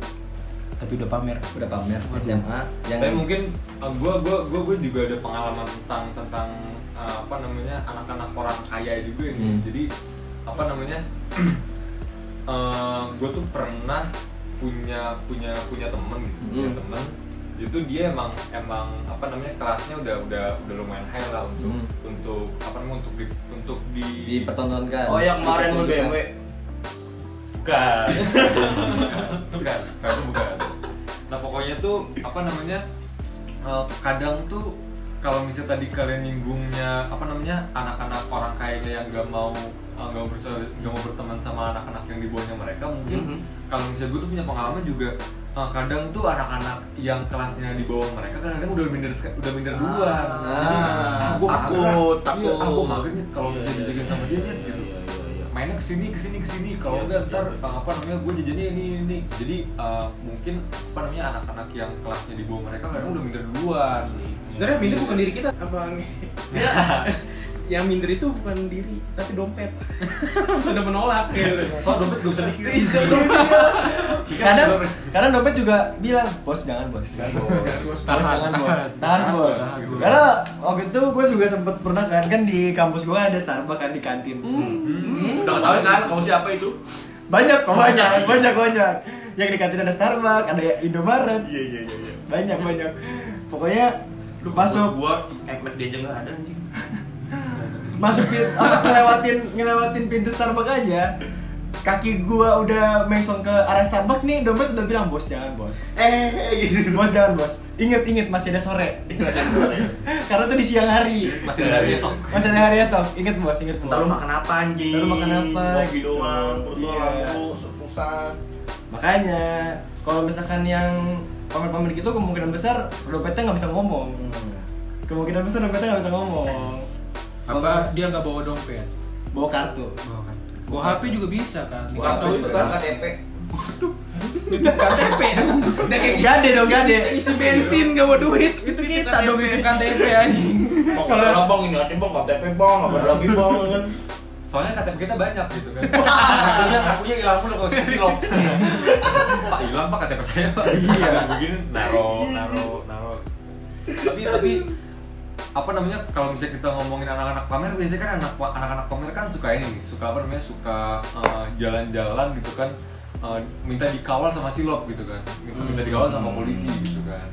A: tapi udah pamer
B: udah pamer
A: Waduh.
B: SMA yang
C: Tapi mungkin uh, gua gua gua gua juga ada pengalaman tentang tentang uh, apa namanya anak-anak orang kaya juga ini.
B: Hmm.
C: Jadi apa namanya? uh, gua tuh pernah punya punya punya temen gitu, punya
B: Hmm.
C: temen itu dia emang emang apa namanya kelasnya udah udah udah lumayan high lah untuk
B: Hmm.
C: untuk apa namanya untuk di untuk di,
B: dipertontonkan
D: Oh yang kemarin lu
B: Dipertontonkan.
D: BMW.
C: bukan bukan kamu bukan nah pokoknya tuh apa namanya eh, kadang tuh kalau misalnya tadi kalian nyinggungnya apa namanya anak-anak orang kaya yang nggak mau eh, nggak bersa- nggak mau berteman sama anak-anak yang di bawahnya mereka mungkin
D: Mhm.
C: kalau misalnya gue tuh punya pengalaman juga eh, kadang tuh anak-anak yang kelasnya di bawah mereka kadang-kadang udah minder sek- udah minder duluan
D: Ah,
C: Jadi, ah, gua
D: takut,
C: mager. Iya, ah,
D: takut.
C: gua mager nih kalau
D: Iya,
C: bisa
D: iya,
C: dijagain
D: iya,
C: sama dia
D: iya,
C: Nyet,
D: iya,
C: gitu
D: iya, iya, iya.
C: mainnya kesini kesini kesini
D: Iya,
C: kalau enggak
D: iya,
C: ntar
D: iya.
C: uh, apa namanya gue jajannya ini ini, ini. jadi uh, mungkin apa namanya anak-anak yang kelasnya di bawah mereka kadang udah minder duluan
E: Sebenarnya minder bukan diri kita apa Iya. yang minder itu bukan diri tapi dompet sudah menolak ya
C: soal dompet gak bisa dikira
B: kadang kadang dompet juga bilang bos jangan bos
C: Iya.
B: jangan bos
E: Bos,
B: Bos, jangan bos tahan bos
C: Tahan, bos.
B: karena waktu itu gue juga sempet pernah kan kan di kampus gue ada Starbucks kan di kantin
D: Hmm. Udah ketahuan kan kamu siapa itu?
B: banyak kok
D: Banyak
B: banyak
D: sih.
B: banyak banyak yang di kantin ada Starbucks ada Indomaret
D: Iya iya iya iya.
B: banyak banyak pokoknya
D: Lu masuk
B: masuk
D: gua empet dia aja nggak ada anjing.
B: masuk pin- apa ngelewatin ngelewatin pintu Starbucks aja kaki gua udah mengsong ke arah Starbucks nih dompet udah bilang bos jangan bos
D: Eh gitu.
B: bos jangan bos inget inget masih ada sore karena tuh di siang hari
C: masih ada hari esok
B: masih ada hari esok inget bos inget bos
D: Entar lu makan apa anjing?
B: Ntar lu makan apa,
D: Kopi
B: gitu.
D: doang, perut
B: Iya.
D: doang, lu pusat.
B: makanya kalau misalkan yang pamer-pamer gitu kemungkinan besar dompetnya nggak bisa ngomong kemungkinan besar dompetnya nggak bisa ngomong
A: apa dia nggak bawa dompet
B: bawa kartu
A: bawa kartu bawa HP juga bisa kan di
D: Bukan
A: kantor
D: itu
A: juga
D: kan
A: bisa.
D: KTP.
E: nitip KTP dong udah kayak isi-
B: Gade dong, gade.
E: isi- isi bensin gak mau duit gitu. itu kita
A: kita dong
E: dong
A: itu KTP anjing
D: Bang, kalau bang ini ada bang KTP bang, nggak ada lagi bang kan.
C: soalnya KTP kita banyak gitu kan punya punya hilang mulu kalau sih lo pak hilang pak KTP saya pak iya begini naro naro naro tapi tapi apa namanya kalau misalnya kita ngomongin anak-anak pamer biasanya kan anak anak-anak pamer kan suka ini nih, suka apa namanya suka eh, jalan-jalan gitu kan eh, minta dikawal sama silop gitu kan minta, minta dikawal sama polisi
B: Hmm.
C: gitu kan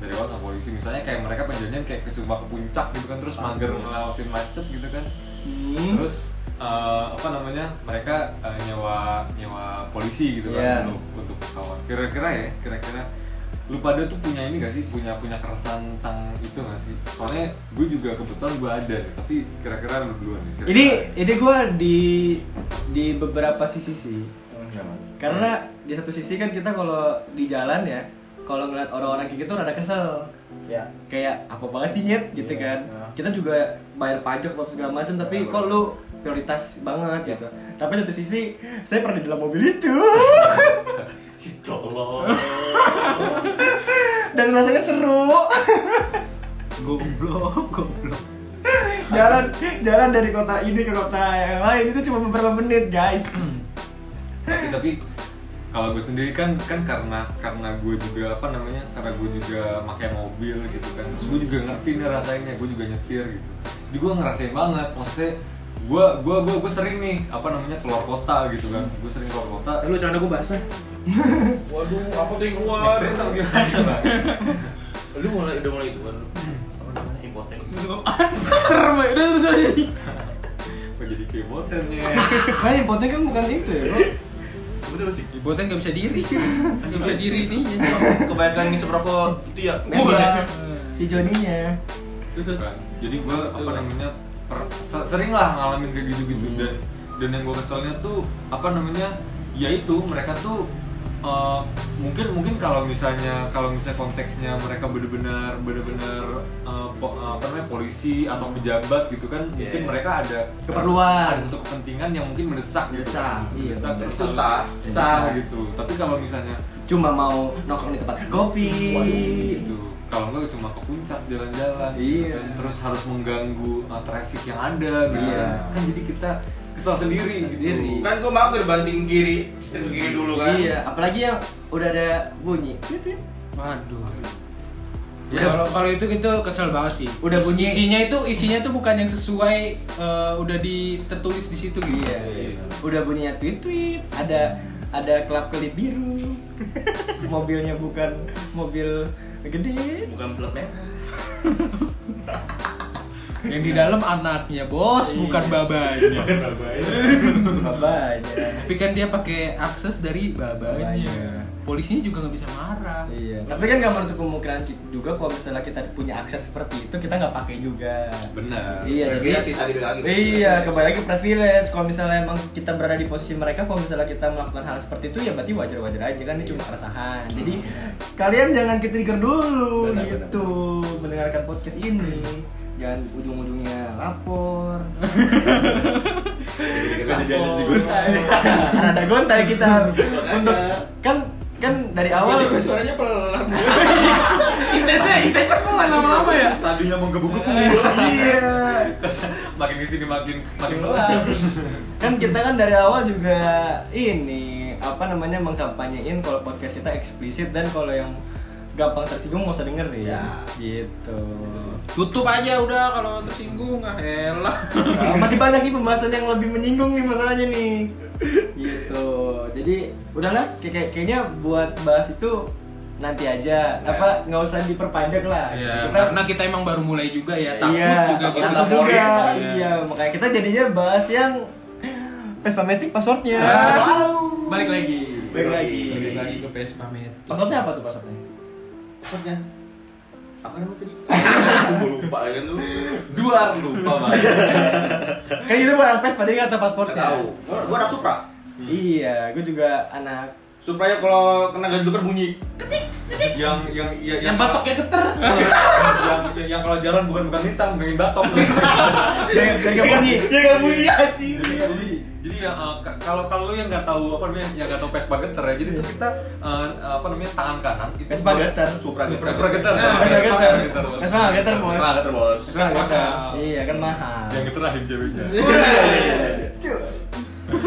C: minta dikawal sama polisi misalnya kayak mereka penjajian kayak ke- cuma ke puncak gitu kan terus mager ngelewatin macet gitu kan
B: hmm.
C: terus eh, apa namanya mereka eh, nyewa nyewa polisi gitu
B: Iya.
C: kan untuk untuk kawan kira-kira ya kira-kira lu pada tuh punya ini gak sih punya punya keresahan tentang itu gak sih soalnya gue juga kebetulan gue ada tapi kira-kira lu duluan nih
B: ini
D: Iya.
B: ini gue di di beberapa sisi sih karena
D: Hmm.
B: di satu sisi kan kita kalau di jalan ya kalau ngeliat orang-orang kayak gitu rada kesel
D: Ya.
B: kayak apa banget sih nyet gitu
D: Iya,
B: kan
D: iya.
B: kita juga bayar pajak apa segala macam tapi
D: Iya,
B: kok
D: bener. Iya.
B: lu prioritas banget gitu tapi satu sisi saya pernah di dalam mobil itu
D: Si tolong.
B: dan rasanya seru
C: goblok goblok
B: jalan jalan dari kota ini ke kota yang lain itu cuma beberapa menit guys
D: Hmm.
C: tapi tapi kalau gue sendiri kan kan karena karena gue juga apa namanya karena gue juga pakai mobil gitu kan terus gue juga ngerti nih rasanya gue juga nyetir gitu jadi gue ngerasain banget maksudnya gue gue gue gue sering nih apa namanya keluar kota gitu kan gue sering keluar kota
E: lu celana gue basah
D: Waduh, aku tuh yang keluar.
C: Naik kereta gimana
D: Lu mulai udah mulai itu kan lu. Apa namanya impoten?
E: serem ya udah terus aja
C: Kok jadi kemoternya
B: kan impotnya kan bukan itu ya bro
D: Betul sih.
A: Ibotnya nggak bisa diri nggak bisa diri nih ya.
D: Kebanyakan ngisep rokok itu ya.
B: Nah, dia, si Joninya
D: Gitu,
E: terus terus
C: Bukan. Kan. jadi gue apa namanya per- se- sering lah ngalamin kayak gitu-gitu
D: Hmm.
C: dan dan yang gue keselnya tuh apa namanya ya itu mereka tuh eh, mungkin mungkin kalau misalnya kalau misalnya konteksnya mereka benar-benar benar-benar eh, po- eh, apa namanya polisi atau pejabat gitu kan mungkin
D: Iya.
C: mereka ada
B: Keperluan.
C: ada satu kepentingan yang mungkin mendesak gitu
B: Mendesak, iya,
C: mendesak terus
D: Itu
C: harus-
D: sah.
C: sah gitu tapi kalau misalnya
B: cuma mau nongkrong di tempat kopi
C: Waduh, gitu. kalau enggak cuma ke puncak jalan-jalan gitu
B: Iya.
C: kan. terus harus mengganggu uh, traffic yang ada gitu
B: Iya.
C: kan. kan jadi kita kesal sendiri gitu
B: Sendiri.
C: kan
D: Kan gua mau gerbang tinggi kiri, setir kiri dulu kan.
B: Iya, apalagi yang udah ada bunyi. Tit, tit.
A: Waduh. Ya, kalau kalau itu itu kesel banget sih.
B: Udah bunyi.
A: Isinya itu isinya tuh bukan yang sesuai eh, udah di tertulis di situ gitu.
B: Iya. Udah bunyinya tweet tweet, ada ada klap kelip biru. Mobilnya bukan mobil gede.
D: Bukan ya? klub merah.
A: Yang di dalam anaknya bos, bukan babanya.
B: Babanya.
A: Tapi kan dia pakai akses dari
B: Babanya.
A: babanya. Polisinya juga nggak bisa marah.
B: Iya. Tapi kan nggak menutup kemungkinan ki- juga kalau misalnya kita punya akses seperti itu kita nggak pakai juga.
C: benar
B: Iya,
D: Privilege sih tadi bilang lagi.
B: Iya, kembali lagi privilege. Kalau misalnya emang kita berada di posisi mereka, kalau misalnya kita melakukan hal seperti itu, ya berarti wajar-wajar aja kan ini cuma keresahan. Jadi kalian jangan ke trigger dulu
D: Benar,
B: gitu mendengarkan podcast ini. Jangan ujung-ujungnya lapor.
D: Kita jadi ada di gua.
B: Ada gontai kita untuk kan kan dari awal
A: suaranya pelan.
E: Intensnya, intensnya
A: Iya.
E: pelan lama-lama ya.
C: tadinya menggebu-gebu
B: iya
C: makin di sini makin makin
A: Iya.
C: pelan
B: kan kita kan dari awal juga ini apa namanya mengkampanyein kalau podcast kita eksplisit dan kalau yang gampang tersinggung nggak usah dengerin
D: Ya.
B: gitu
A: Tutup aja udah kalau tersinggung ah elah.
B: Nah, masih banyak nih pembahasan yang lebih menyinggung nih masalahnya nih gitu jadi udahlah kayak kayak- kayaknya buat bahas itu nanti aja apa nggak usah diperpanjang lah
A: Ya,
B: Kita-
A: karena kita emang baru mulai juga ya, takut
B: iya,
A: juga
B: takut
A: gitu.
D: takut
B: juga.
D: Laporin,
B: iya makanya kita jadinya bahas yang Vespa Matic passwordnya
A: Ya. Balik lagi.
B: Balik lagi.
A: Balik lagi ke Vespa Matic.
B: Passwordnya apa tuh passwordnya?
D: Maksudnya apa namanya tadi? Gua lupa ya kan lu.
C: dua lupa banget
B: Kan kita bukan anak Vespa, jadi nggak tahu
D: Enggak
B: passwordnya
D: tahu. Hmm. Gua gua ada Supra.
B: Iya, gue juga anak
D: Supaya kalau kena ganduper bunyi.
C: yang yang yang,
A: Yang batoknya geter.
C: yang, yang, yang kalau jalan bukan bukan nistang pengen batok
B: Dari dari gak bunyi
D: Ya enggak bunyi anjing.
C: jadi jadi ya eh, ka- kalau kalau lu yang nggak tahu apa namanya yang nggak tahu Vespa geter ya jadi tuh kita eh, apa namanya tangan kanan itu
B: Vespa geter
D: Supra gitu.
C: Supra geter
B: Nah,
C: Vespa
B: Vespa
C: geter.
B: geter. Vespa nggak geter, bos
D: Nah, kata bos.
B: Vespa nggak geter
A: Mahal.
B: Iya, kan mahal
C: yang geter aja ceweknya
D: Iya,
B: Cuy.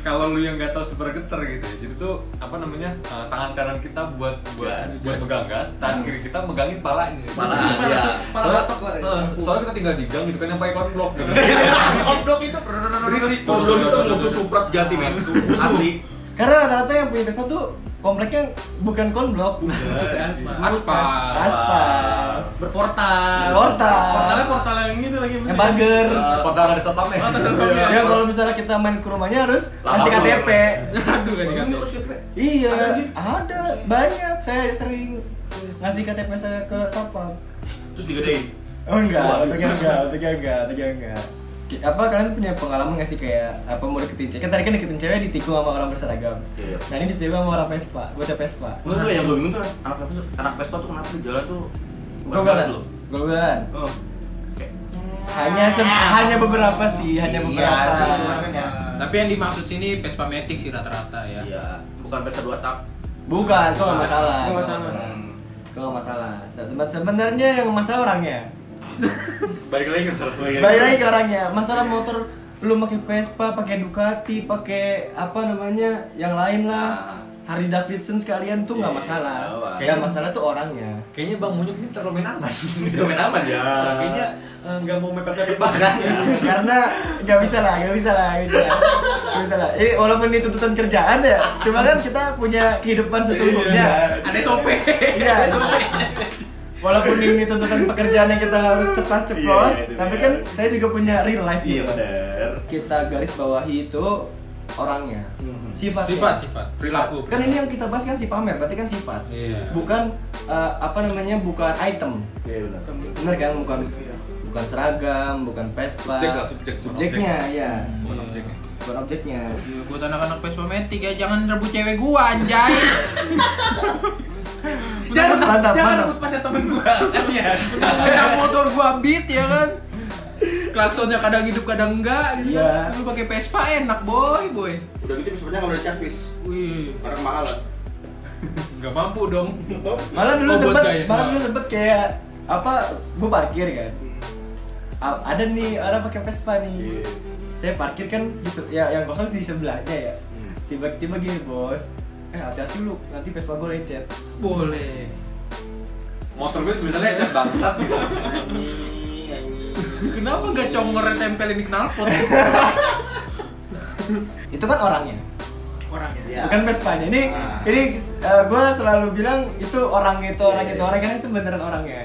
C: kalau lu yang nggak tahu Supra geter gitu ya jadi tuh apa namanya eh, tangan kanan kita buat buat
D: Gas.
C: buat megang gas tangan kiri kita megangin palanya
D: Pala,
C: Jadi,
D: iya.
E: Pala
C: soalnya,
E: batok lah ya. Iya.
C: eh, soalnya kita tinggal di gang gitu kan yang pakai konblok gitu
D: Goblok itu berisik. Goblok itu musuh Supra sejati men. Asli.
B: Karena rata-rata yang punya Vespa tuh kompleknya bukan konblok
A: Aspal.
B: Aspal
E: Berportal.
B: Portal.
E: Portalnya portal yang ini
D: Iya,
E: tuh lagi
B: Yang bager
C: Kota nggak ada satpamnya
E: Oh, ada satpamnya.
B: Ya kalau misalnya kita main ke rumahnya harus
D: Lapor.
B: kasih KTP.
A: Aduh kan
D: Ini
A: dikasih.
D: harus gitu.
B: Iya,
D: Ada, Ji?
B: ada banyak. Saya sering ngasih KTP saya ke satpam.
D: Terus digedein.
B: Oh
D: Wah.
B: enggak, untungnya enggak, untungnya enggak, untungnya enggak. Ki- Apa kalian punya pengalaman nggak sih kayak apa mau deketin cewek? Kan tadi kan deketin cewek ditikung sama orang berseragam.
D: Iya.
B: Nah ini ditikung sama orang Vespa, bocah Vespa.
D: Lu tuh yang gue bingung tuh anak Vespa tuh, anak Vespa tuh kenapa di jalan tuh
B: Gogolan,
D: lu?
B: gogolan.
D: Oh. Kayak
B: Hanya sem- hanya beberapa sih, hanya
D: Iya,
B: beberapa.
D: sih, cuman kan ya.
A: Tapi yang dimaksud sini Vespa Matic sih rata-rata ya.
D: Iya, bukan Vespa dua tak.
B: Bukan, itu nggak masalah.
E: Nggak
B: itu
E: masalah.
B: Itu nggak masalah. Seben- Sebenarnya yang masalah orangnya.
D: Balik lagi ke Vespa.
B: Balik lagi ke orangnya. Masalah motor lu pakai Vespa, pakai Ducati, pakai apa namanya yang lain lah. Harley Davidson sekalian tuh nggak
D: Iya,
B: masalah.
D: nggak apa-apa.
B: Yang masalah tuh orangnya.
C: Kayaknya Bang Munyuk ini terlalu main aman
D: Domain aman ya.
C: Kayaknya eh, nggak mau mepet-mepet banget
B: Karena nggak bisa lah, nggak bisa lah, nggak bisa lah. Nggak bisa lah. Eh, walaupun ini tuntutan kerjaan ya, cuma kan kita punya kehidupan sesungguhnya.
E: Ada SOP.
B: Iya. Walaupun ini tuntutan pekerjaan yang kita harus ceplas-ceplos,
D: Iya, itu
B: tapi
D: dia.
B: kan saya juga punya real life
D: Iya
B: gitu.
D: benar.
B: Kita garis bawahi itu orangnya,
D: Mhm.
B: sifat, ya?
A: Sifat, sifat, perilaku.
B: Kan ini yang kita bahas kan si pamer, berarti kan sifat,
A: Iya.
B: bukan eh, apa namanya, bukan item,
D: Iya benar.
B: bener kan? Bukan bukan seragam, bukan Vespa,
C: Subjek lah, subjek, bukan
B: subjeknya, ya,
C: Bukan objeknya.
B: bukan objeknya.
A: Ya, buat anak-anak Vespa Matic ya jangan rebut cewek gua anjay.
E: Jangan
B: Mantap,
E: jangan
B: mantap.
E: rebut pacar temen gua. Kasihan.
A: Udah motor gua beat ya kan. Klaksonnya kadang hidup kadang enggak gitu
B: Iya.
E: ya.
A: kan. Lu pakai Vespa enak boy, boy.
D: Udah gitu sebenarnya nggak boleh servis
A: Wih.
D: karena mahal.
A: nggak mampu dong
B: malah
A: Oh,
B: dulu
A: buat
B: sempet
A: gaya.
B: malah dulu sempet kayak apa gue parkir kan A- ada nih orang pakai Vespa
A: Iya.
B: nih saya parkir kan di se- ya, yang kosong di sebelahnya ya
A: Hmm.
B: tiba-tiba gini bos eh hati-hati lu nanti Vespa gue lecet
A: boleh
C: motor gue tulisannya cat bangsat gitu
A: kenapa nggak conger tempelin di knalpot
B: itu kan orangnya
A: orangnya
D: Ya.
B: bukan Vespanya ini
D: Ah.
B: ini gue selalu bilang itu orang itu orang
D: Iya,
B: itu
D: iya.
B: orang karena itu beneran orangnya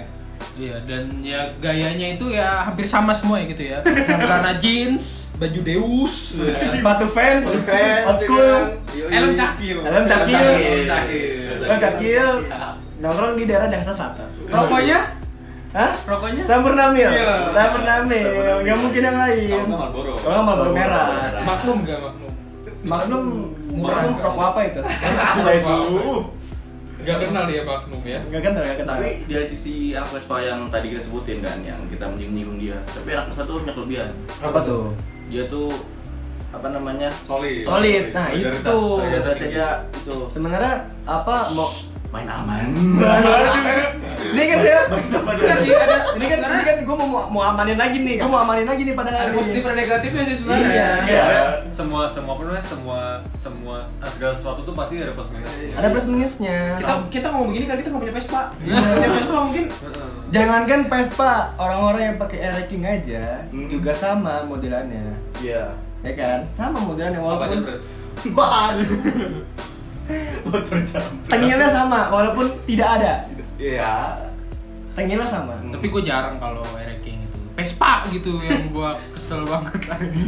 A: Iya dan ya gayanya itu ya hampir sama semua ya gitu ya. Celana jeans, baju Deus, ya.
B: sepatu fans
D: iya kan?
B: iya. old school
E: Elem cakil.
B: Elem cakil.
C: Elem cakil.
B: Bang Cakil nongkrong di daerah Jakarta Selatan
E: Rokoknya?
B: Hah?
E: Rokoknya?
B: Sampurnamil.
E: Iya.
B: Sampurnamil.
D: Sampurnamil.
B: Nggak mungkin yang lain.
C: Kalau nggak Marlboro.
B: Kalau nggak Marlboro
D: Kalau
B: merah.
D: Marlboro merah.
A: maknum gak maknum?
B: Magnum
A: Murah.
B: Magnum rokok apa itu?
D: Apa itu?
A: Gak kenal ya maknum ya.
B: Enggak kenal, enggak kenal.
D: Tapi dari sisi anak Vespa yang tadi kita sebutin kan, yang kita menyinggung dia. Tapi anak Vespa tuh punya kelebihan.
B: apa tuh?
D: Dia tuh apa namanya?
C: solid
B: Solid. Nah, itu.
D: Biasa
C: solidaritas
D: saja itu
B: Sebenarnya apa mau
D: main aman.
B: ini kan saya
E: Enggak sih, ada
B: ini kan ini kan gue mau mau amanin lagi nih gue mau amanin lagi nih pada
E: ada
B: hari ini
E: positif dan negatifnya sih sebenarnya.
B: Iya.
C: Soalnya semua semua apa namanya semua semua nah, segala sesuatu tuh pasti ada plus minusnya
B: ada plus minusnya
E: Kita kita ngomong begini kan kita nggak punya Vespa.
A: Iya,
E: Punya Vespa mungkin
C: Heeh.
B: jangankan Vespa orang-orang yang pakai air racing aja
D: Hmm.
B: juga sama modelannya
D: Iya.
B: ya kan sama modelannya
C: apa aja
B: walaupun
C: Brad?
D: Ban. Motor jam.
B: tengilnya sama walaupun tidak ada
D: Iya.
B: tengilnya sama
A: Tapi gue jarang kalau ereking itu. Vespa gitu yang gue kesel banget lagi.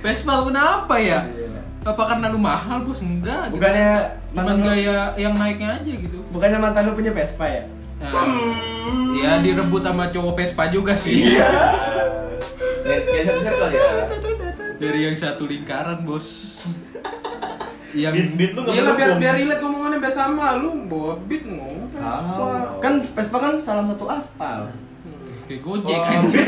A: Vespa kenapa ya? Apa karena lu mahal bos? Enggak. gitu.
B: bukannya
A: Cuman
B: mantan lu,
A: gaya yang naiknya aja gitu.
B: bukannya mantan lu punya Vespa ya
A: Nah, ya direbut sama cowok Vespa juga sih.
D: Iya. Kayak besar kali ya.
A: Dari yang satu lingkaran bos. yang
D: Beat- beat lu nggak
E: Iya lah biar
D: mendukung.
E: biar relate ngomongannya biar sama lu bobit ngomong Vespa.
B: kan Vespa kan salah satu aspal
A: Kayak gojek anjir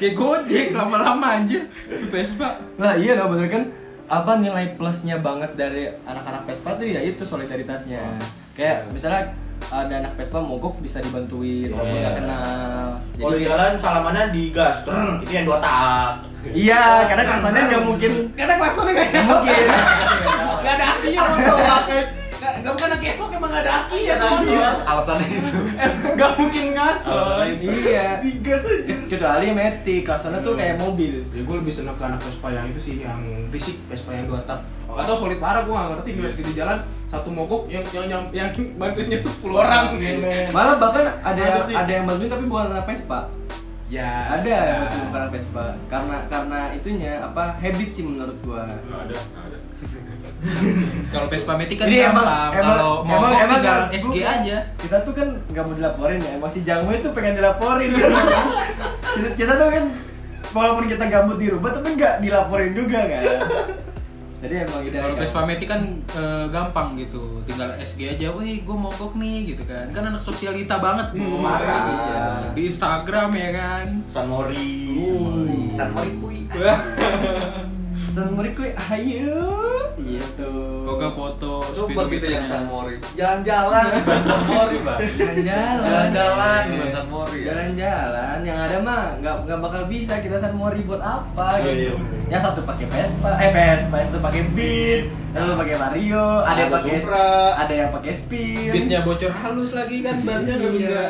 A: Kayak gojek lama-lama anjir Di Vespa
B: lah iya dong bener kan apa nilai plusnya banget dari anak-anak Vespa tuh ya itu solidaritasnya kayak misalnya ada anak Vespa mogok bisa dibantuin walaupun
A: Iya.
B: nggak kenal
D: Kalau di
B: Jadi-
D: jalan salamannya di gas, Trrrr, itu yang dua tak.
B: iya karena kesannya nggak mungkin
E: Karena klaksonnya nggak ada.
B: nggak mungkin
E: Nggak ada akinya motor.
D: Iya,
E: Nggak nggak bukan kesok emang nggak ada aki ya
D: Nggak ada aki
E: motor.
D: ya.
C: alasannya itu
E: Emang Nggak mungkin
C: Alasannya
E: ngakson.
C: itu.
B: iya
D: Di gas aja.
B: kecuali metik kesannya tuh kayak mobil
E: Ya gue lebih seneng ke anak Vespa yang itu sih yang berisik Vespa yang dua tak
D: Oh.
E: atau solid parah gue gak ngerti
C: Iya
E: yes. di jalan satu mogok yang yang yang, yang bantuin nyetuk 10 orang iya.
B: malah bahkan ada
E: Ada
B: yang,
E: sih.
B: ada yang bantuin tapi bukan anak Vespa
E: ya
B: ada yang bantuin bukan anak Vespa karena karena itunya apa habit sih menurut gua
C: nggak ada nggak ada
A: Kalau Vespa Matic kan
B: Ini emang-
A: gampang
B: emang-
A: Kalau mau
B: emang-
A: kok
B: emang
A: tinggal
B: kan?
A: SG aja
B: kita tuh kan nggak mau dilaporin ya emang si Jangwe tuh pengen dilaporin kita, kita tuh kan walaupun kita gabut di rumah tapi nggak dilaporin juga kan jadi emang udah
A: Kalau
B: nggak-
A: Vespa Matic kan eh, gampang gitu Tinggal SG aja Wih gue mogok nih gitu kan Kan anak sosialita banget Boy.
E: Hmm,
B: parah.
A: Iya. Di Instagram ya kan
D: San Mori. Uh.
E: San Mori
B: San Murikui, ayo iya tuh
A: Koga foto
C: coba kita
A: speedometernya.
C: yang San Mori jalan-jalan bukan San Mori gitu ya. pak jalan-jalan bukan San Mori ya.
B: jalan-jalan yang ada mah nggak nggak bakal bisa kita San Mori buat apa
D: Iya, iya.
B: gitu yang satu pakai Vespa eh Vespa yang satu pakai Beat yang satu pakai Mario ada yang
D: Ada
B: pakai
D: Supra.
B: ada yang pakai Speed
A: Beatnya bocor halus lagi kan Bannya gak
B: Iya.
A: bisa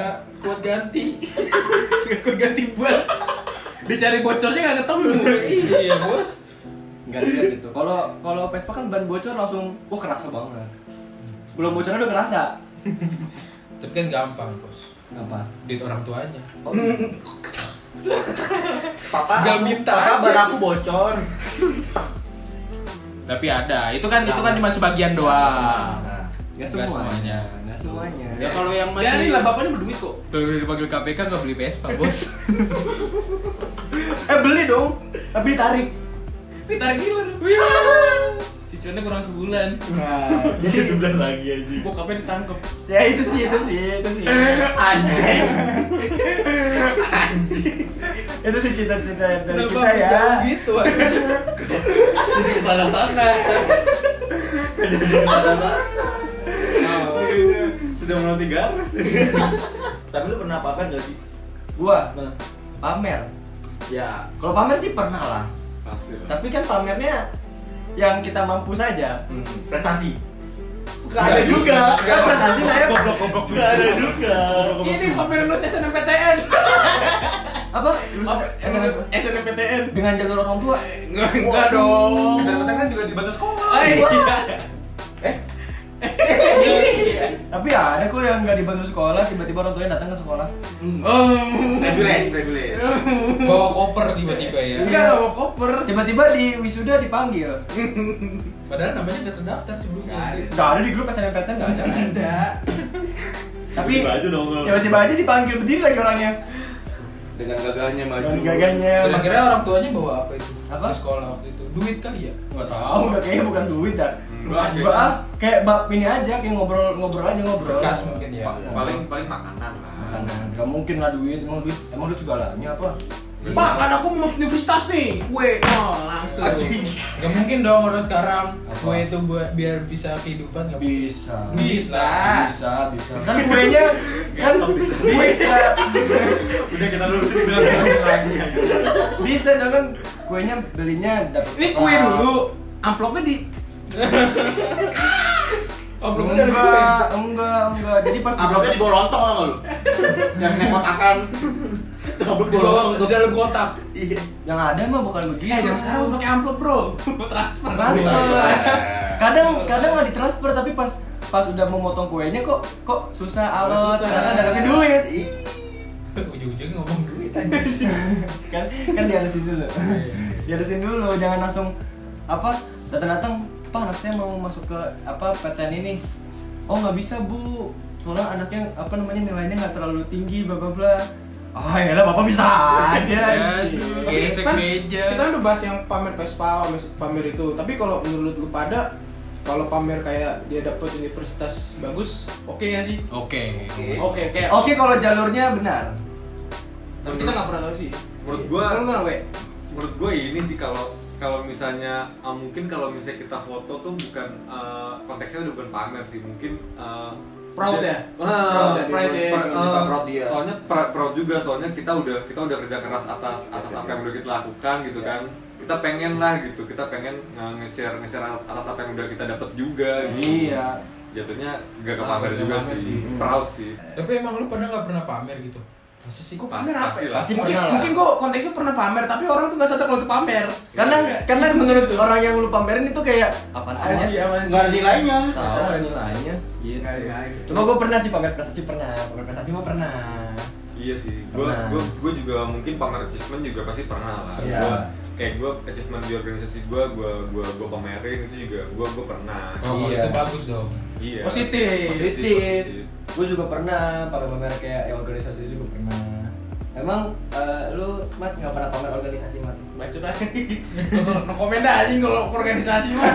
A: kuat ganti
E: gue ganti ban dicari bocornya gak ketemu
A: Iya bos
B: Enggak lihat itu. Kalau kalau Vespa kan ban bocor langsung wah kerasa banget. Belum bocornya udah kerasa.
A: Tapi kan gampang bos
B: Kenapa?
A: Duit orang tuanya
D: Papa,
A: Tinggal
D: aku-
A: minta
D: Papa,
A: aja.
D: ban aku bocor.
A: Tapi ada, itu kan itu kan cuma sebagian doang.
D: Nah,
A: Nggak
B: Enggak semuanya.
A: semuanya.
B: Enggak semuanya.
A: Ya kalau yang
E: ya ini
A: masih
E: lah bapaknya berduit kok
A: kalau udah dipanggil KPK nggak beli Vespa bos.
B: Eh beli dong. Tapi ditarik.
E: ditarik dealer cicilannya kurang sebulan
B: Nah,
D: jadi
B: jadi
D: sebelah lagi aja.
E: bokapnya ditangkep
B: ya itu sih itu sih itu sih. Anjing. Anjing. itu sih cita-cita dari kita ya.
E: jauh gitu anjing?
C: sana sana Kayaknya Sudah menanti garis
D: Tapi lu pernah pamer gak sih?
B: Gua pamer.
D: Ya,
B: Kalau pamer sih pernah lah.
C: Pasti lah
B: Tapi kan pamernya yang kita mampu saja.
D: prestasi. Gak Hmm. ada juga.
B: Kan prestasi saya
C: Goblok-goblok
D: Gak ada juga.
E: Ini pamer lulus SNMPTN.
B: apa?
E: Apa? SNM-
D: eh,
E: SNMPTN.
B: Dengan jalur orang tua.
E: Enggak, enggak dong.
C: SNMPTN kan juga dibantu sekolah
E: Ah, iya.
B: Tapi ya ada kok yang nggak dibantu sekolah, tiba-tiba orang tuanya datang ke sekolah.
E: Um,
C: Privilege, privilege
A: bawa koper tiba-tiba ya
E: Enggak bawa koper.
B: Tiba-tiba di wisuda dipanggil.
A: padahal namanya udah terdaftar sebelumnya Ya,
C: Nggak ada.
B: Gak ada di grup SNMPTN nggak ada.
E: Ada.
B: Tapi
D: Tiba-tiba aja dong.
B: tiba-tiba aja dipanggil berdiri lagi orangnya.
D: Dengan gagahnya maju.
B: Dan gagahnya.
A: Terus akhirnya orang tuanya bawa apa itu
B: Apa?
A: ke sekolah waktu itu duit kali ya
B: Gak tau, gak kayaknya bukan duit dah.
C: Enggak,
B: Gua ah, kayak bab ini aja, kayak ngobrol-ngobrol aja ngobrol.
A: berkas mungkin ya
C: Pa- Paling paling Iya. makanan lah
B: Makanan. Gak mungkin lah duit, emang duit, emang duit segalanya apa?
E: Pak, kan aku mau masuk universitas nih. Kue, oh, langsung.
A: nggak mungkin dong orang sekarang
B: Apa?
A: gue itu buat biar bisa kehidupan nggak mungkin.
B: Bisa.
E: Bisa.
B: Bisa, bisa. Kan kuenya kan bisa. Bisa.
C: Udah kita lurusin bilang lagi
B: Bisa dong kan kuenya belinya dapat.
E: Ini kue dulu. Amplopnya di Oh,
A: Amplopnya
B: Enggak,
A: dari gue
B: enggak, enggak, enggak. Jadi pas
D: Amplopnya di bawah lontong lah lu. Yang naik kotakan. Tabut
A: di bawah di dalam kotak Gitu.
D: Iya.
B: yang ada mah bukan begitu.
E: Eh, jam sekarang harus pakai amplop, Bro. Mau transfer.
D: Iya,
B: transfer. kadang kadang nggak ditransfer tapi pas pas udah memotong kuenya kok kok susah alot
A: susah.
B: karena dalamnya duit Ih,
A: ujung-ujungnya ngomong duit Iya, aja
B: kan kan dihalusin dulu dihalusin dulu jangan langsung apa datang datang pak anak saya mau masuk ke apa PTN ini oh nggak bisa bu soalnya anaknya apa namanya nilainya nggak terlalu tinggi bla bla bla ah ya bapak bisa aja
A: Aduh.
E: Oke,
A: Iya, Gesek
E: kan
A: meja.
E: kita udah bahas yang pamer Vespa, pamer- pamer itu. Tapi kalau menurut lu pada kalau pamer kayak dia dapat universitas bagus, oke ya sih?
A: oke
E: Oke, oke.
B: oke kalau jalurnya benar
E: Tapi kita nggak pernah tahu sih.
C: Menurut gua-
E: Menurut gua, we.
C: menurut gue ini sih kalau kalau misalnya ah, mungkin kalau misalnya kita foto tuh bukan eh, konteksnya udah bukan pamer sih mungkin eh,
E: Proud
C: misalnya-
E: ya?
C: Ah,
E: Proud ya, pride ya,
C: per-
E: gitu.
C: eh,
D: Proud dia.
C: soalnya pra- proud juga soalnya kita udah kita udah kerja keras atas atas apa yang udah kita lakukan gitu
E: Iya.
C: kan kita pengen lah gitu kita pengen eh, nge-share nge-share atas apa yang udah kita dapat juga gitu.
B: iya
C: jatuhnya gak ke
A: Ah,
C: pamer
A: nggak
C: juga
A: pamer
C: sih.
A: sih.
E: Hmm.
C: proud sih
A: tapi emang lu pernah nggak pernah pamer gitu masa sih
E: Gua
A: kok
E: pamer apa?
C: pasti
E: ya?
C: lah.
B: Pasti
E: Mungkin
B: pernah lah.
E: mungkin gua konteksnya pernah pamer, tapi orang tuh nggak sadar kalau itu pamer.
B: karena
C: Iya.
B: karena menurut orang yang lu pamerin itu kayak apa
E: Apaan sih, apaan sih?
D: Enggak Kan ada nilainya.
B: tahu ada nilainya gitu
E: Nggak ada
A: Iya,
E: nilainya.
B: coba gue pernah sih pamer prestasi pernah pamer prestasi mah pernah
C: Iya sih, gue
B: Pernah.
C: gua, gua juga mungkin pamer achievement juga pasti pernah lah.
B: Iya.
C: Gua, kayak gue achievement di organisasi gue, gue gue gue pamerin itu juga gue gue pernah.
A: Oh, kalau
B: Iya.
A: itu bagus dong
C: Iya.
E: Positif.
C: positif.
B: positif gue juga pernah pamer pamer kayak ya, organisasi juga pernah emang eh, lu mat nggak pernah pamer organisasi mat
E: Baca aja. No komen dah anjing kalau organisasi mah.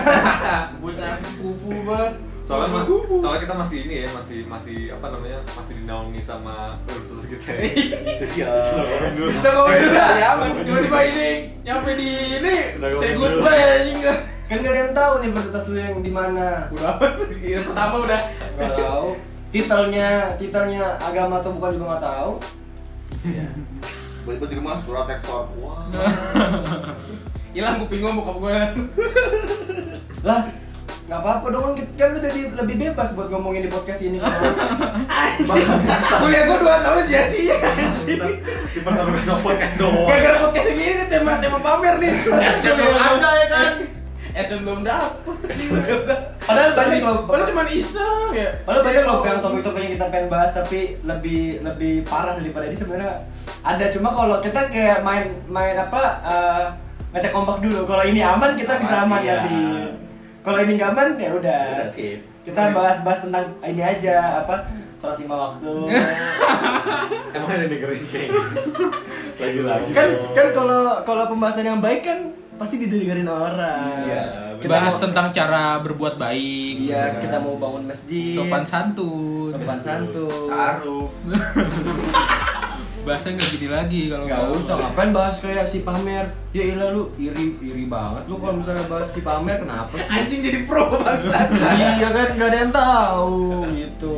E: Bocah kufu banget.
C: Soalnya ma-
E: Kufu.
C: soalnya kita masih ini ya, masih masih apa namanya, masih dinaungi sama universitas kita. Ya.
D: Iya.
E: Udah komen udah. Tiba-tiba ini nyampe di ini
D: Udah
E: saya
D: komen dulu.
E: goodbye anjing enggak.
B: kan gak ada yang tahu nih universitas lu yang di mana
E: Udah amat. Yang pertama udah.
B: nggak tahu titelnya titelnya agama atau bukan juga nggak tahu
D: Tiba-tiba di rumah surat rektor. Wah.
E: Hilang kuping gua bokap gua.
B: lah nggak apa-apa dong kan kita- kan lu jadi lebih bebas buat ngomongin di podcast ini
E: Anjing. Kuliah gua 2 tahun sia-sia.
C: Kita si pertama kita podcast doang.
E: Gara-gara podcast yang gini nih tema tema pamer nih.
D: Belum ada ya kan?
E: SM belum dapet
B: padahal banyak
E: Padahal
B: loh
E: padahal cuman iseng ya
B: Padahal banyak loh yang topik-topik yang kita pengen bahas tapi lebih lebih parah daripada ini sebenarnya ada cuma kalau kita kayak main main apa eh, ngajak kompak dulu kalau ini aman kita bisa
D: Aman,
B: aman
D: iya.
B: nanti kalau ini nggak aman ya udah
D: Udah sip.
B: kita bahas-bahas tentang ini aja apa sholat lima waktu
C: Emang ada yang dengerin kayak gitu? Lagi-lagi.
B: kan kan kalau kalau pembahasan yang baik kan pasti didengerin orang
D: Iya,
B: kita
A: bahas
B: mau-
A: tentang cara berbuat baik
B: iya
A: gitu kan.
B: kita mau bangun masjid
A: sopan santun
B: sopan santun
D: Aruf.
A: bahasnya nggak gini lagi kalau
B: Nggak usah, ngapain bahas kayak si pamer Ya ilah lu, iri, iri banget Lu kalau misalnya bahas si pamer, kenapa sih?
E: Iya. Anjing jadi pro bangsa.
B: iya kan, nggak ada yang tahu gitu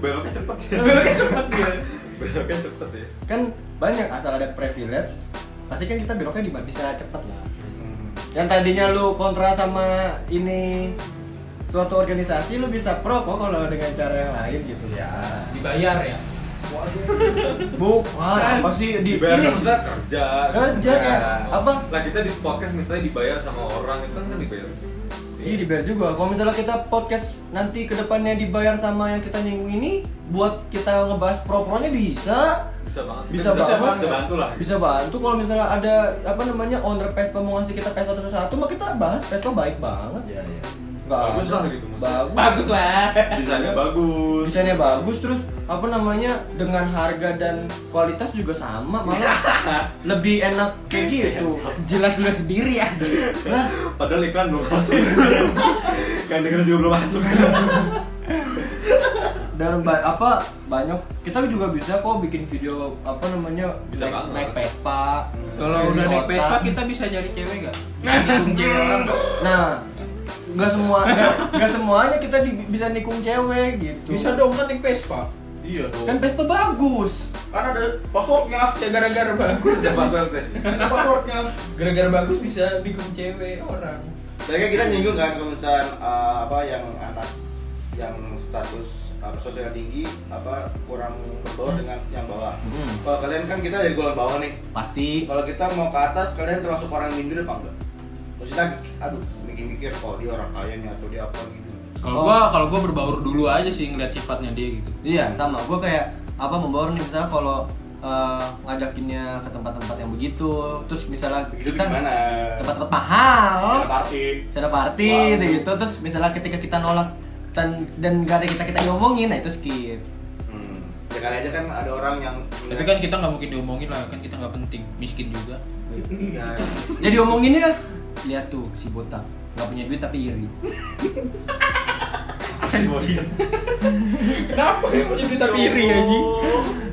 C: beloknya cepet ya
E: Beloknya cepet ya.
C: beloknya cepet ya
B: Kan banyak, asal ada privilege Pasti kan kita beloknya di- bisa cepet lah
E: Hmm.
B: Yang tadinya lu kontra sama ini suatu organisasi lu bisa pro kok kalau dengan cara yang lain gitu
E: Iya.
B: ya
A: dibayar ya
B: bukan ah, apa sih di
C: dibayar
B: ini-
C: kan maksudnya kerja
B: Kerja, kan?
E: Iya.
B: Apa?
C: lah kita di podcast misalnya dibayar sama orang itu kan dibayar
B: Iya dibayar juga. Kalau misalnya kita podcast nanti kedepannya dibayar sama yang kita nyinggung ini, buat kita ngebahas pro-pronya bisa.
C: bisa banget
B: Bisa
C: Kita
B: banget.
C: bisa bantu lah
B: Bisa bantu kalau misalnya ada apa namanya owner PESPA mau ngasih kita PESPA terus satu, mah kita bahas PESPA baik banget.
D: Iya, iya.
B: Nggak
C: Bagus
B: ada.
C: lah gitu, maksudnya.
B: Bagus.
E: Bagus lah.
C: desainnya bagus
B: Desainnya bagus terus apa namanya dengan harga dan kualitas juga sama malah lebih enak kayak gitu.
A: jelas jelas sendiri ya
B: Nah,
C: padahal iklan belum masuk kan denger juga belum masuk
B: dan ba- apa banyak kita juga bisa kok bikin video apa namanya
C: Bisa
B: naik,
C: banget.
B: naik Vespa
A: kalau
B: Jadi
A: udah naik
B: otak.
A: Vespa kita bisa nyari cewek nggak nikung cewek orang nggak?
B: nah nggak semua nggak- nggak semuanya kita di- bisa nikung cewek gitu
A: bisa dong kan naik Vespa
D: Iya dong.
B: kan Vespa bagus
D: Kan ada passwordnya.
A: ya gara-gara bagus
C: udah pasal teh
D: Ada ya? passwordnya.
A: gara-gara bagus bisa nikung cewek orang
D: Tadi kan kita nyinggung kan kalau misalkan eh, apa yang anak yang status apa, sosial tinggi apa kurang berbau dengan yang bawah.
B: Hmm.
D: Kalau kalian kan kita dari golongan bawah nih.
B: pasti
D: Kalau kita mau ke atas, kalian termasuk orang yang minder apa enggak? Terus kita, aduh, mikir-mikir, oh dia orang kaya nih atau dia apa gitu.
A: kalau
B: Oh.
A: gua kalau gua berbaur dulu aja sih ngeliat sifatnya dia gitu
B: iya sama gue kayak apa membawa nih misalnya kalau eh, ngajakinnya ke tempat-tempat yang begitu terus misalnya
D: Begitu
B: kita
D: Gitu gimana? Iya,
B: tempat-tempat mahal
D: Ada party.
B: cara party
D: Wow.
B: gitu, gitu terus misalnya ketika kita nolak dan dan gak ada kita kita ngomongin nah itu skip
D: Hmm. Ya kali aja kan ada orang yang
A: tapi kan kita nggak mungkin diomongin lah kan kita nggak penting miskin juga
D: Iya.
B: jadi omonginnya kan lihat tuh si botak nggak punya duit tapi iri
A: kenapa yang punya duit tapi iri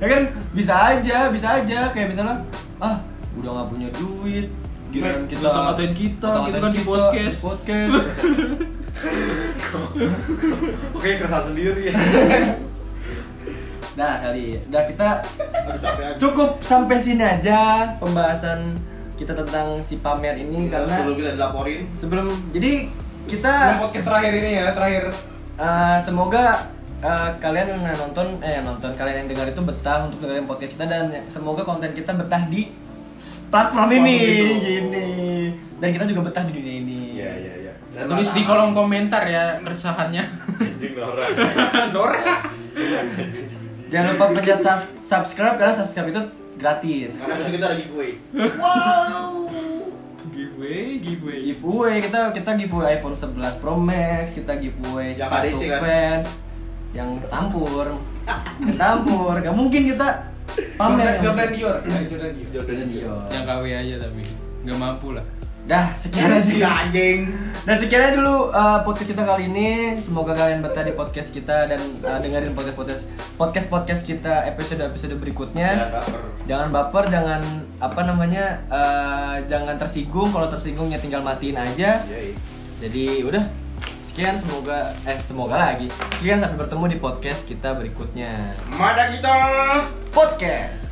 B: ya kan bisa aja bisa aja kayak misalnya ah udah nggak punya duit giliran
A: Meh,
B: kita
A: ngata-ngatain kita,
B: ngata-ngatain
A: gitu kan di podcast.
B: podcast
C: oke keresahan sendiri ya
B: nah kali dah kita
D: Aduh capek aja.
B: cukup sampai sini aja pembahasan kita tentang si pamer ini karena
D: Iya, Sebelum kita dilaporin,
B: sebelum jadi kita
E: Ini podcast terakhir ini ya, terakhir.
B: Uh, semoga uh, kalian yang nonton eh yang nonton kalian yang dengar itu betah untuk dengerin podcast kita dan semoga konten kita betah di platform ini
D: Platform itu.
B: gini dan kita juga betah di dunia ini
D: Iya iya iya.
A: Ya, tulis di kolom komentar ya keresahannya
C: anjing Nora
A: Nora
B: jangan lupa pencet sus- subscribe karena subscribe itu gratis
D: Karena besok kita ada giveaway.
A: giveaway giveaway
B: giveaway kita kita giveaway iPhone 11 Pro Max kita giveaway
D: Yang
B: sepatu
D: ADC kan?
B: fans yang tampur tampur gak mungkin kita pamer
E: Jordan, Jordan Dior. Ya, Jordan Dior.
B: Jordan Dior.
A: yang KW aja tapi nggak mampu lah
B: dah sekian sih
D: anjing.
B: Nah sekian aja dulu uh, podcast kita kali ini. Semoga kalian betah di podcast kita dan uh, dengerin podcast podcast podcast podcast kita episode episode
D: Ya,
B: berikutnya.
D: baper.
B: Jangan baper, jangan apa namanya, uh, jangan tersinggung. Kalau tersinggungnya tinggal matiin aja.
D: Yoi.
B: Jadi udah sekian semoga eh semoga lagi. Sekian sampai bertemu di podcast kita berikutnya.
D: Mada kita.
B: Podcast.